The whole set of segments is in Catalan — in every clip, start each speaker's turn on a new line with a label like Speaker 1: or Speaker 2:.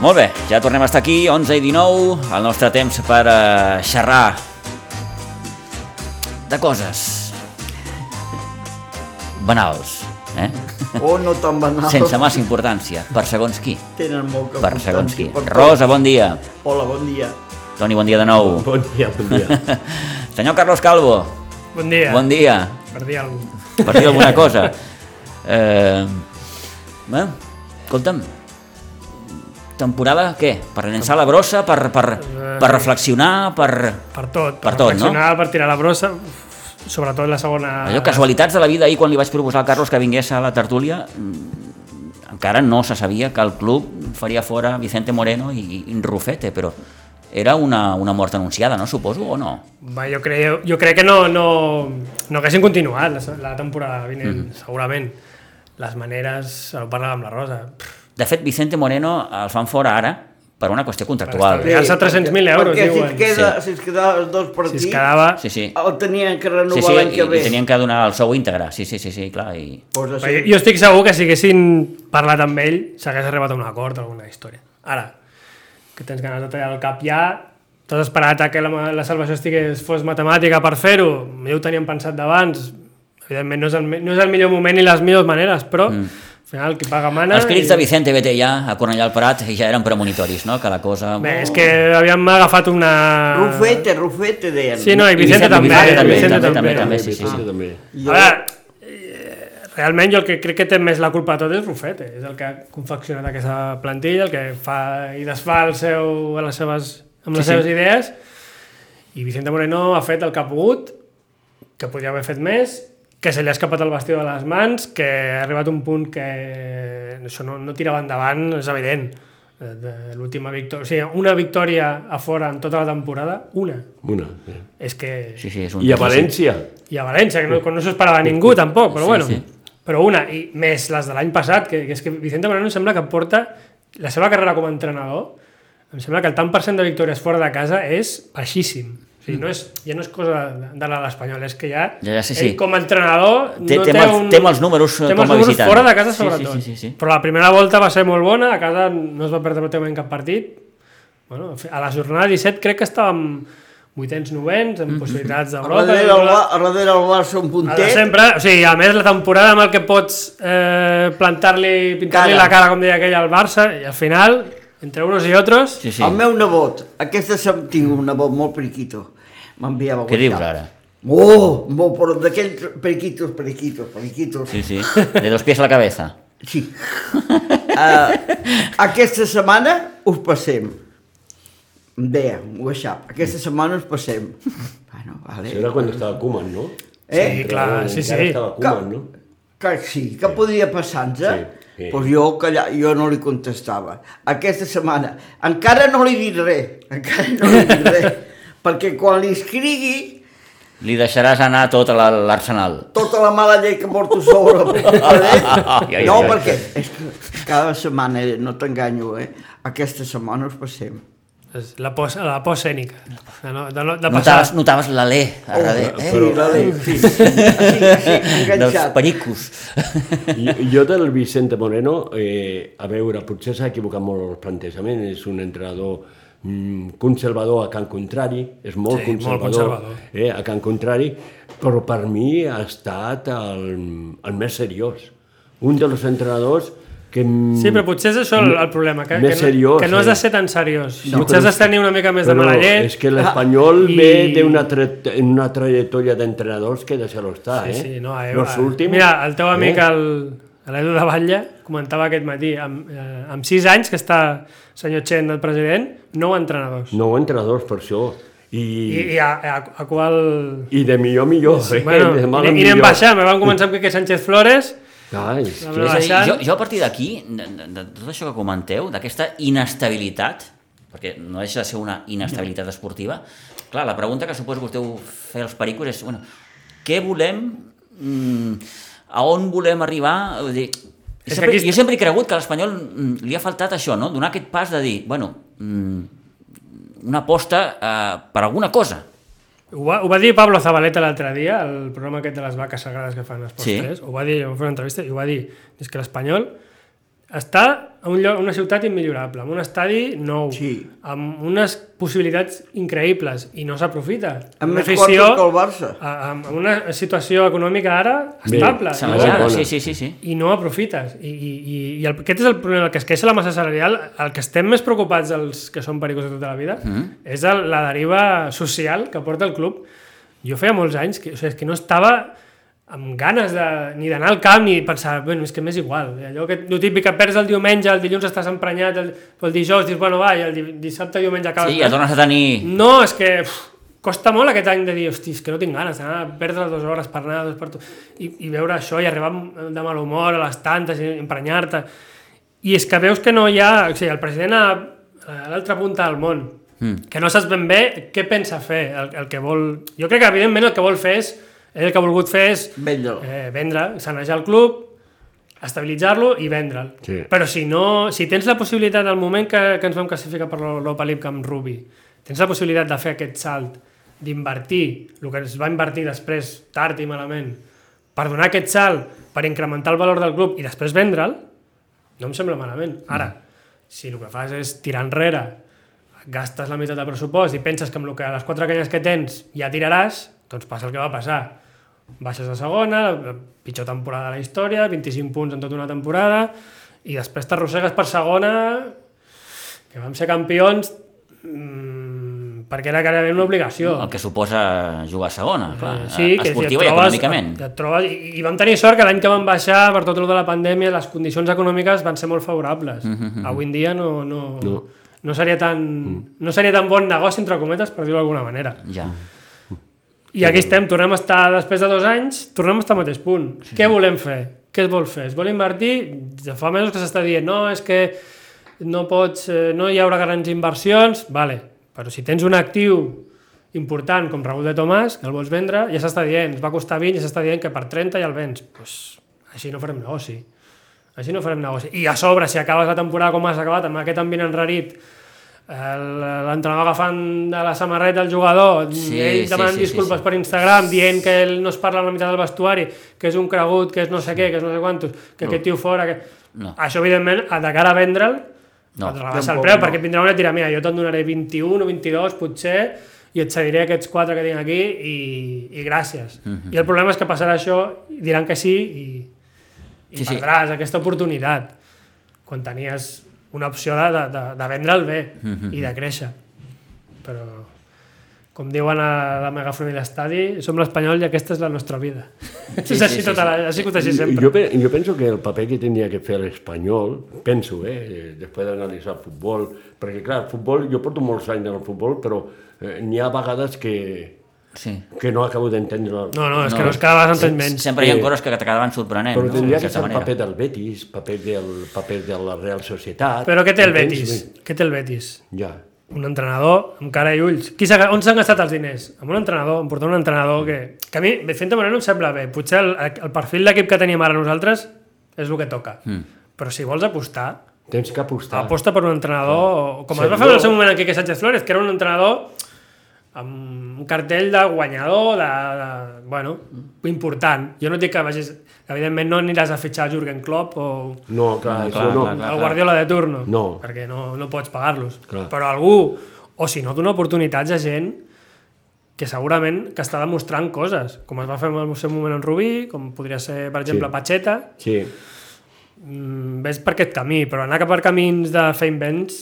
Speaker 1: Molt bé, ja tornem a estar aquí, 11 i 19, el nostre temps per eh, xerrar de coses banals, eh?
Speaker 2: O no tan banal.
Speaker 1: sense massa importància, per segons qui,
Speaker 2: Tenen molt que
Speaker 1: per
Speaker 2: apuntar,
Speaker 1: segons
Speaker 2: sí,
Speaker 1: qui.
Speaker 2: per
Speaker 1: Rosa, bon dia.
Speaker 2: tot. Hola, bon dia.
Speaker 1: Toni, bon dia de nou.
Speaker 3: Bon dia, bon dia.
Speaker 1: Senyor Carlos Calvo,
Speaker 4: Bon dia.
Speaker 1: bon dia.
Speaker 4: Per dir alguna cosa.
Speaker 1: Per dir alguna cosa. Eh, bé, escolta'm, temporada, què? Per llançar la brossa, per, per, per reflexionar, per...
Speaker 4: Per tot.
Speaker 1: Per tot, no?
Speaker 4: reflexionar, Per tirar la brossa, uf, sobretot la segona...
Speaker 1: Allò, casualitats de la vida, ahir quan li vaig proposar al Carlos que vingués a la tertúlia, mm, encara no se sabia que el club faria fora Vicente Moreno i, i Rufete, però era una, una mort anunciada, no? Suposo, o no?
Speaker 4: Va, jo, crec, jo crec que no, no, no haguessin continuat la, la temporada vinent,
Speaker 1: Mm-hmm.
Speaker 4: segurament. Les maneres, ho parlava amb la Rosa, pff,
Speaker 1: De fet, Vicente Moreno el fan fora ara per una qüestió contractual.
Speaker 4: Per Pagar-se 300.000 euros,
Speaker 2: perquè si
Speaker 4: diuen.
Speaker 2: es, queda, sí. si es quedava els dos
Speaker 4: si
Speaker 2: partits,
Speaker 4: es quedava...
Speaker 1: Sí, sí.
Speaker 2: el tenien que renovar
Speaker 1: Sí, sí,
Speaker 2: l'any
Speaker 1: i,
Speaker 2: que ve.
Speaker 1: i tenien que donar el sou íntegre, sí, sí, sí, sí clar, i...
Speaker 2: Pues
Speaker 4: Però
Speaker 2: així,
Speaker 4: Jo, jo estic segur que si haguessin parlat amb ell s'hagués arribat a un acord o alguna història. Ara, que tens ganes de tallar el cap ja, t'has esperat a que la, ma- la salvació estigués, fos matemàtica per fer-ho, ja ho teníem pensat d'abans, evidentment no és, el, me- no és el millor moment ni les millors maneres, però mm. al final qui paga mana...
Speaker 1: Els crits
Speaker 4: i-
Speaker 1: de Vicente Betellà a Cornellà al Prat ja eren premonitoris, no?, que la cosa...
Speaker 4: Bé, és que havíem agafat una...
Speaker 2: Rufete, Rufete, deien.
Speaker 4: Sí, no, i Vicente, també.
Speaker 1: Vicente també,
Speaker 4: Vicente
Speaker 1: també,
Speaker 4: també.
Speaker 1: també, sí, sí, sí.
Speaker 3: també.
Speaker 2: Jo-
Speaker 4: A veure, eh, realment jo el que crec que té més la culpa de tot és Rufete, és el que ha confeccionat aquesta plantilla, el que fa i desfà el seu, a les seves, amb les
Speaker 1: Sí, sí.
Speaker 4: seves idees, i Vicente Moreno ha fet el que ha pogut, que podria haver fet més, que se li ha escapat el bastió de les mans, que ha arribat un punt que això no, no tirava endavant, és evident. Eh, de L'última victòria, o sigui, una victòria a fora en tota la temporada, una.
Speaker 3: Una. eh.
Speaker 4: És que...
Speaker 1: Sí, sí, és un
Speaker 3: I
Speaker 1: tema,
Speaker 3: a
Speaker 1: sí.
Speaker 3: València.
Speaker 4: i a València, que no, que no s'ho esperava ningú tampoc, però
Speaker 1: Sí,
Speaker 4: bueno.
Speaker 1: sí.
Speaker 4: Però una, i més les de l'any passat, que, que és que Vicente Moreno em sembla que porta la seva carrera com a entrenador, em sembla que el tant per cent de victòries fora de casa és baixíssim. O sigui, no és, ja no és cosa de, de l'Espanyol, és que ja,
Speaker 1: Mm. Ja, ja, sí,
Speaker 4: ell
Speaker 1: sí.
Speaker 4: com a entrenador
Speaker 1: Té-
Speaker 4: no
Speaker 1: té
Speaker 4: té,
Speaker 1: mals-
Speaker 4: un...
Speaker 1: té mals números, eh,
Speaker 4: té
Speaker 1: com a
Speaker 4: mals números
Speaker 1: visitant.
Speaker 4: fora de casa
Speaker 1: Sí, sí,
Speaker 4: sobretot.
Speaker 1: sí, sí, sí.
Speaker 4: Però la primera volta va ser molt bona, a casa no es va perdre pràcticament cap partit. Bueno, a la jornada 17 crec que estàvem vuitens, novens,
Speaker 1: Mm.
Speaker 4: amb possibilitats
Speaker 2: A
Speaker 4: d'Europa.
Speaker 2: darrere el, Bar- a darrere el Barça un
Speaker 4: El de
Speaker 2: puntet,
Speaker 4: sempre, o sigui, a més la temporada amb el que pots eh, plantar-li, pintar-li
Speaker 2: Cara.
Speaker 4: la cara, com deia aquell, al Barça, i al final, entre uns i altres,
Speaker 1: Sí, sí.
Speaker 2: el meu nebot, aquesta sem... tinc un nebot molt periquito, m'enviava a
Speaker 1: Què dius
Speaker 2: WhatsApp.
Speaker 1: ara?
Speaker 2: Oh, molt, però d'aquells periquitos, periquitos, periquitos.
Speaker 1: Sí, sí. De dos pies a la cabeza.
Speaker 2: Sí. Uh, aquesta setmana us passem. Em deia, un WhatsApp, aquesta setmana us passem. Bueno, vale.
Speaker 3: Això era quan estava Koeman, no?
Speaker 2: Eh?
Speaker 4: Sí, clar, sí,
Speaker 3: Encara
Speaker 4: sí.
Speaker 3: estava Koeman, no?
Speaker 2: Que sí, que podria passar-nos. eh?
Speaker 3: Sí, sí.
Speaker 2: Pues jo, calla, jo no li contestava. Aquesta setmana. Encara no li dit res. Encara no li dit res. perquè quan li escrigui,
Speaker 1: Li deixaràs anar tot a la- l'arsenal.
Speaker 2: tota la mala llei que porto sobre el
Speaker 1: ai,
Speaker 2: paret. No,
Speaker 1: ai.
Speaker 2: perquè és que cada setmana, eh, no t'enganyo, eh? Aquesta setmana us passem.
Speaker 4: és la por, la por escènica. De, no, de, no, de passar,
Speaker 1: Notaves, notaves l'alè a darrere,
Speaker 2: Oh,
Speaker 1: eh?
Speaker 2: Sí, la llei, sí. Així, així,
Speaker 1: Dels
Speaker 2: enganxat.
Speaker 1: pericos.
Speaker 3: Jo, jo del Vicente Moreno, eh, a veure, potser s'ha equivocat molt el plantejament, és un entrenador mm, conservador a Can Contrari, és molt
Speaker 4: Sí, molt
Speaker 3: conservador,
Speaker 4: conservador.
Speaker 3: Eh, a Can Contrari, però per mi ha estat el, el més seriós. Un dels entrenadors que... mm,
Speaker 4: Sí, però potser és això el, el problema, que, que,
Speaker 3: Més
Speaker 4: no,
Speaker 3: seriós,
Speaker 4: que no has de
Speaker 3: eh?
Speaker 4: ser tan seriós.
Speaker 3: No,
Speaker 4: No, potser
Speaker 3: però-
Speaker 4: has de tenir una mica més de
Speaker 3: però
Speaker 4: mala llet.
Speaker 3: És que l'Espanyol
Speaker 4: Ah, i-
Speaker 3: ve d'una tra una trajectòria d'entrenadors que deixa-lo estar,
Speaker 4: Sí,
Speaker 3: eh?
Speaker 4: sí, no, eh,
Speaker 3: Los
Speaker 4: eh,
Speaker 3: últims,
Speaker 4: Mira, el teu amic,
Speaker 3: eh?
Speaker 4: el, l'Edu de Batlle, comentava aquest matí, amb, eh, amb sis anys que està senyor Chen, el president, nou entrenadors.
Speaker 3: Nou entrenadors, per això.
Speaker 4: I,
Speaker 3: I, I,
Speaker 4: i a, a, a qual...
Speaker 3: i de millor a millor. eh?
Speaker 4: bueno,
Speaker 3: de mal a
Speaker 4: i, i anem baixant, vam començar amb Quique Sánchez Flores,
Speaker 3: Clar, és
Speaker 1: És a
Speaker 4: Vam anar
Speaker 3: que...
Speaker 1: dir,
Speaker 4: baixant.
Speaker 1: jo, jo a partir d'aquí, de, de, de tot això que comenteu, d'aquesta inestabilitat, perquè no deixa de ser una inestabilitat esportiva, clar, la pregunta que suposo que us deu fer els pericos és, bueno, què volem, mm, a on volem arribar, vull dir,
Speaker 4: És
Speaker 1: jo
Speaker 4: que
Speaker 1: sempre,
Speaker 4: aquí-
Speaker 1: jo sempre he cregut que a l'Espanyol mm, li ha faltat això, no? donar aquest pas de dir, bueno, mm, una aposta eh, per alguna cosa.
Speaker 4: Ho va, ho va dir Pablo Zabaleta l'altre dia, el programa aquest de les vaques sagrades que fan a Esports
Speaker 1: Sí.
Speaker 4: sí. 3, ho va dir, vam fer una entrevista i ho va dir, és que l'Espanyol està a un lloc, una ciutat immillorable, amb un estadi nou,
Speaker 2: Sí.
Speaker 4: amb unes possibilitats increïbles, i no s'aprofita.
Speaker 2: Amb
Speaker 4: Una
Speaker 2: més quartos que el Barça.
Speaker 4: a- Amb amb una situació econòmica ara
Speaker 3: Bé,
Speaker 4: estable.
Speaker 1: Se
Speaker 3: no,
Speaker 1: m'ha
Speaker 3: bona.
Speaker 1: sí, sí, sí, sí.
Speaker 4: i no aprofites. I, i, i, i el, aquest és el problema, el que es queixa la massa salarial, el que estem més preocupats els que són pericos de tota la vida, mm.
Speaker 1: Mm-hmm.
Speaker 4: és el, la deriva social que porta el club. Jo feia molts anys que, o sigui, és que no estava amb ganes de, ni d'anar al camp ni pensar, bueno, és que m'és igual. Allò que, el típic que perds el diumenge, el dilluns estàs emprenyat, el, el dijous dius, bueno, va, i el di- dissabte, diumenge acabes.
Speaker 1: Sí, ja tornes a tenir...
Speaker 4: No, és que uf, costa molt aquest any de dir, hosti, és que no tinc ganes d'anar a perdre dues hores per anar, dos per tu, i, i veure això i arribar amb- de mal humor a les tantes i emprenyar-te. I és que veus que no hi ha... O sigui, el president a, a l'altra punta del món, mm. que no saps ben bé què pensa fer, el, el que vol... Jo crec que, evidentment, el que vol fer és... Ell el que ha volgut fer és
Speaker 2: Vendre-lo.
Speaker 4: eh, vendre, sanejar el club, estabilitzar-lo i vendre'l.
Speaker 3: Sí.
Speaker 4: Però si no, si tens la possibilitat al moment que, que ens vam classificar per l'Europa League amb Rubi, tens la possibilitat de fer aquest salt, d'invertir el que es va invertir després, tard i malament, per donar aquest salt, per incrementar el valor del club i després vendre'l, no em sembla malament. Ara, si el que fas és tirar enrere, gastes la meitat del pressupost i penses que amb el que, les quatre canyes que tens ja tiraràs, doncs passa el que va passar. Baixes a segona, la pitjor temporada de la història, 25 punts en tota una temporada, i després t'arrossegues per segona, que vam ser campions mm, perquè era gairebé una obligació.
Speaker 1: El que suposa jugar a segona, clar,
Speaker 4: Eh, Sí, que si et
Speaker 1: esportiva i
Speaker 4: trobes-
Speaker 1: econòmicament.
Speaker 4: Et trobes, i, I vam tenir sort que l'any que vam baixar, per tot el de la pandèmia, les condicions econòmiques van ser molt favorables.
Speaker 1: Mm,
Speaker 4: Avui en dia no, no, no. no seria tan, no seria tan bon negoci, entre cometes, per dir-ho d'alguna manera.
Speaker 1: Ja.
Speaker 4: I aquí estem, tornem a estar, després de dos anys, tornem a estar al mateix punt. Què volem fer? Què es vol fer? Es vol invertir? Ja fa mesos que s'està dient, no, és que no pots, eh, no hi haurà grans inversions, vale, però si tens un actiu important com Raúl de Tomàs, que el vols vendre, ja s'està dient, ens va costar 20, ja s'està dient que per 30 ja el vens. Pues, així no farem negoci. Així no farem negoci. I a sobre, si acabes la temporada com has acabat, amb aquest ambient enrarit, el- l'entrenador agafant de la samarreta el jugador,
Speaker 1: Sí,
Speaker 4: ell
Speaker 1: sí,
Speaker 4: demanant
Speaker 1: sí, sí,
Speaker 4: disculpes
Speaker 1: sí.
Speaker 4: per Instagram, dient que ell no es parla amb la meitat del vestuari, que és un cregut, que és no sé què, que és no sé quantos, que aquest tio fora... Que...
Speaker 1: No.
Speaker 4: Això, evidentment, a de cara a vendre'l,
Speaker 1: No.
Speaker 4: no, et rebaixa el
Speaker 2: Tampoc
Speaker 4: preu,
Speaker 2: no.
Speaker 4: no. perquè et vindrà una i et dirà, mira, jo te'n donaré 21 o 22, potser, i et cediré aquests quatre que tinc aquí i, i gràcies. Mm
Speaker 1: Mhm.
Speaker 4: -hmm. I el problema és que passarà això, i diran que sí i, i
Speaker 1: Sí,
Speaker 4: sí,
Speaker 1: sí.
Speaker 4: perdràs sí. aquesta oportunitat quan tenies una opció de, de, de, de vendre'l bé mm
Speaker 1: Mhm.
Speaker 4: -hmm. i de créixer. Però, com diuen a la megafona i l'estadi, som l'Espanyol i aquesta és la nostra vida. Sí, és
Speaker 1: sí,
Speaker 4: així
Speaker 1: sí,
Speaker 4: tota la, ha sigut així sempre.
Speaker 3: Jo, pe- jo penso que el paper que tenia que fer l'Espanyol, penso, eh, després d'analitzar el futbol, perquè clar, el futbol, jo porto molts anys en el futbol, però eh, n'hi ha vegades que,
Speaker 1: Sí.
Speaker 3: que no acabo d'entendre.
Speaker 4: No, no, és
Speaker 1: No,
Speaker 4: que no es
Speaker 1: no.
Speaker 4: cada vegada s'entén menys.
Speaker 1: Sempre hi ha
Speaker 3: Sí.
Speaker 1: coses que t'acabaven sorprenent,
Speaker 3: Però
Speaker 1: Eh, no?
Speaker 3: tindria
Speaker 1: En
Speaker 3: que
Speaker 1: certa
Speaker 3: ser el
Speaker 1: manera.
Speaker 3: paper del Betis, paper, del, paper de la Real Societat...
Speaker 4: Però què té el
Speaker 3: Entens?
Speaker 4: Betis? Què té el Betis?
Speaker 3: Ja.
Speaker 4: Un entrenador amb cara i ulls. Qui s'ha- on s'han gastat els diners? Amb un entrenador, em portar un entrenador que... Que a mi, Vicente Moreno em sembla bé. Potser el, el perfil d'equip que teníem ara nosaltres és el que toca. Mm. Però si vols apostar,
Speaker 3: Tens que apostar.
Speaker 4: aposta per un entrenador... Com es va
Speaker 3: Sí,
Speaker 4: fer en
Speaker 3: jo-
Speaker 4: el seu moment en Quique Sánchez Flores, que era un entrenador amb un cartell de guanyador, de, de, bueno, important. Jo no et dic que vagis... Evidentment no aniràs a fitxar Jurgen Klopp o
Speaker 3: No, clar,
Speaker 1: Ah,
Speaker 3: no,
Speaker 1: clar,
Speaker 3: això no.
Speaker 1: clar, clar.
Speaker 4: el Guardiola de turno,
Speaker 3: No.
Speaker 4: perquè no, no pots pagar-los.
Speaker 3: Clar.
Speaker 4: Però algú, o si no, dona oportunitats a gent que segurament que està demostrant coses, com es va fer en el seu moment en Rubí, com podria ser, per exemple,
Speaker 3: Sí.
Speaker 4: sí. Pacheta,
Speaker 3: Sí,
Speaker 4: mm, ves per aquest camí, però anar cap per camins de fer invents...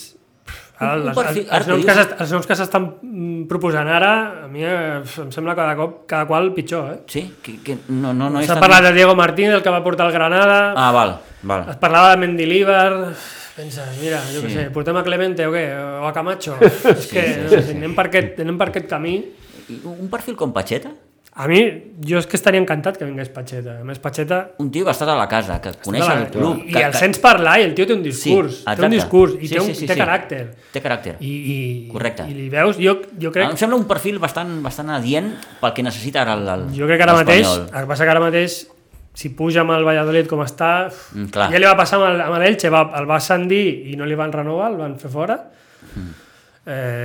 Speaker 4: pff, Ara,
Speaker 1: Un- un
Speaker 4: les,
Speaker 1: perfil-
Speaker 4: els,
Speaker 1: ara
Speaker 4: els, noms
Speaker 1: que
Speaker 4: que
Speaker 1: dius-
Speaker 4: s'est- els noms que s'estan mm, proposant ara, a mi eh, em sembla cada cop cada qual pitjor, eh?
Speaker 1: Sí? Que, que no, no, no és
Speaker 4: S'ha
Speaker 1: tan-
Speaker 4: parlat de Diego Martín, el que va portar el Granada,
Speaker 1: Ah, val, val.
Speaker 4: es parlava de Mendilibar, Penses, mira, jo què sé, portem a Clemente o què? O a Camacho? és que no sé, anem, per aquest, anem per aquest camí.
Speaker 1: I Un perfil com Pacheta?
Speaker 4: A mi, jo és que estaria encantat que vingués Patxeta. A més, Patxeta...
Speaker 1: Un tio que ha estat a la casa, que coneix el club.
Speaker 4: I,
Speaker 1: que,
Speaker 4: i el
Speaker 1: que-
Speaker 4: sents parlar i el tio té un discurs. té
Speaker 1: exacte.
Speaker 4: un discurs i
Speaker 1: Sí,
Speaker 4: té, un,
Speaker 1: sí, sí,
Speaker 4: té
Speaker 1: sí.
Speaker 4: caràcter.
Speaker 1: Té caràcter.
Speaker 4: I, i,
Speaker 1: Correcte.
Speaker 4: I li veus, jo, jo crec...
Speaker 1: Em sembla un perfil bastant, bastant adient pel que necessita ara el, el
Speaker 4: Jo crec que ara mateix,
Speaker 1: l'Espanyol.
Speaker 4: el que passa que ara mateix, si puja amb el Valladolid com està,
Speaker 1: Mm, clar.
Speaker 4: ja li va passar amb el- amb l'Elche, va, el va ascendir i no li van renovar, el van fer fora. Eh,
Speaker 1: Mm.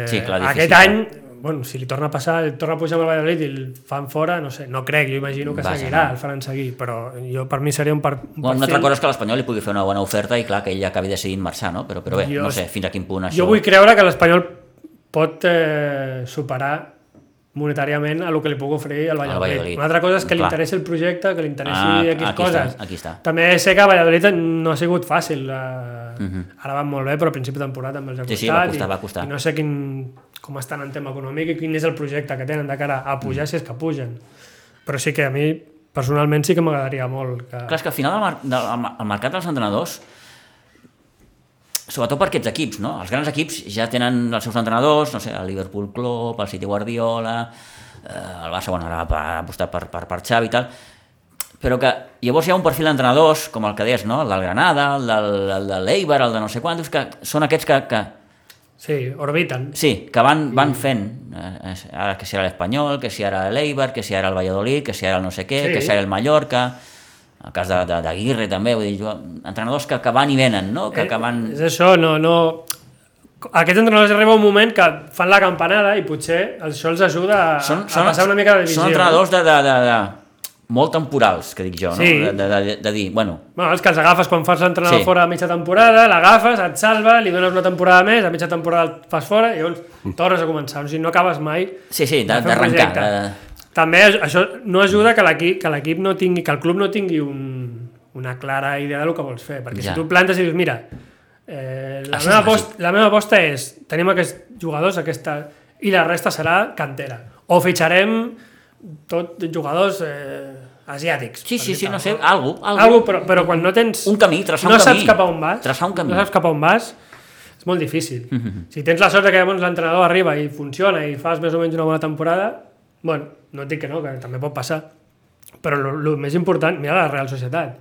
Speaker 1: Sí, clar, difícil,
Speaker 4: aquest
Speaker 1: clar.
Speaker 4: any, bueno, si li torna a passar, li torna a pujar amb el Valladolid i el fan fora, no sé, no crec, jo imagino que
Speaker 1: Vaja,
Speaker 4: seguirà,
Speaker 1: no.
Speaker 4: el faran seguir, però jo per mi seria un, per, un
Speaker 1: Bueno, una
Speaker 4: perfil-
Speaker 1: altra cosa és que l'Espanyol li pugui fer una bona oferta i clar que ell acabi decidint marxar, no? Però, però bé,
Speaker 4: Jo-
Speaker 1: no sé fins a quin punt això...
Speaker 4: Jo vull creure que l'Espanyol pot eh, superar monetàriament a lo que li puc oferir al Valladolid.
Speaker 1: Valladolid.
Speaker 4: Una altra cosa és que li
Speaker 1: Clar.
Speaker 4: interessi el projecte, que li interessi
Speaker 1: Ah,
Speaker 4: ah, X
Speaker 1: aquí
Speaker 4: coses.
Speaker 1: està, aquí està.
Speaker 4: També sé que a Valladolid no ha sigut fàcil. Eh, Ara van molt bé, però a principi de temporada també els ha
Speaker 1: Mhm. Sí,
Speaker 4: costat.
Speaker 1: sí, va costar,
Speaker 4: i,
Speaker 1: va costar.
Speaker 4: I no sé quin, com estan en tema econòmic i quin és el projecte que tenen de cara a
Speaker 1: Mhm.
Speaker 4: pujar, si és que pugen. Però sí que a mi, personalment, sí que m'agradaria molt. Que...
Speaker 1: Clar, és que al final el, mar del, el ma- el mercat dels entrenadors sobretot per aquests equips, no? Els grans equips ja tenen els seus entrenadors, no sé, el Liverpool Klopp, el City Guardiola, eh, el Barça, bueno, ara ha apostat per, per, per Xavi i tal, però que llavors hi ha un perfil d'entrenadors, com el que deies, no? El del Granada, el, del, el de l'Eibar, el de no sé quantos, que són aquests que, que
Speaker 4: Sí, orbiten.
Speaker 1: Sí, que van, van fent, eh, eh, ara que si ara l'Espanyol, que si ara l'Eibar, que si ara el Valladolid, que si ara el no sé què,
Speaker 4: Sí.
Speaker 1: que si ara el Mallorca, el cas de- de- d'Aguirre també, vull dir, jo- entrenadors que, que van i venen, no? Que, que van...
Speaker 4: Eh, És això, no... no... Aquests entrenadors arriba un moment que fan la campanada i potser això els ajuda a,
Speaker 1: Són,
Speaker 4: a passar una mica de divisió.
Speaker 1: Són entrenadors de, de, de, de, molt temporals, que dic jo, no?
Speaker 4: Sí.
Speaker 1: De, de, de, de dir, bueno,
Speaker 4: Bueno, els que els agafes quan fas l'entrenador
Speaker 1: Sí.
Speaker 4: sí. fora a mitja temporada, l'agafes, et salva, li dones una temporada més, a mitja temporada el fas fora i llavors tornes a començar. O sigui, no acabes mai
Speaker 1: sí, sí, de-
Speaker 4: de fer un
Speaker 1: d'arrencar.
Speaker 4: projecte.
Speaker 1: de-
Speaker 4: També aj- això no ajuda que l'equip que l'equip no tingui, que el club no tingui un, una clara idea del que vols fer, perquè
Speaker 1: Ja.
Speaker 4: si tu plantes i dius, mira, eh, la,
Speaker 1: Això
Speaker 4: meva
Speaker 1: és
Speaker 4: post, la meva aposta és, tenim aquests jugadors, aquesta, i la resta serà cantera. O fitxarem tot jugadors eh, asiàtics.
Speaker 1: Sí,
Speaker 4: per
Speaker 1: sí, sí,
Speaker 4: dir-te
Speaker 1: no sé,
Speaker 4: alguna
Speaker 1: algú, algú.
Speaker 4: Algo, però, però quan no tens...
Speaker 1: Un camí, traçar
Speaker 4: no
Speaker 1: un camí.
Speaker 4: saps cap a on vas.
Speaker 1: Traçar un camí. Mm-hmm.
Speaker 4: No saps cap a on vas, és molt difícil. Si tens la sort que llavors l'entrenador arriba i funciona i fas més o menys una bona temporada, bueno, no et dic que no, que també pot passar. Però el més important, mira la Real Societat.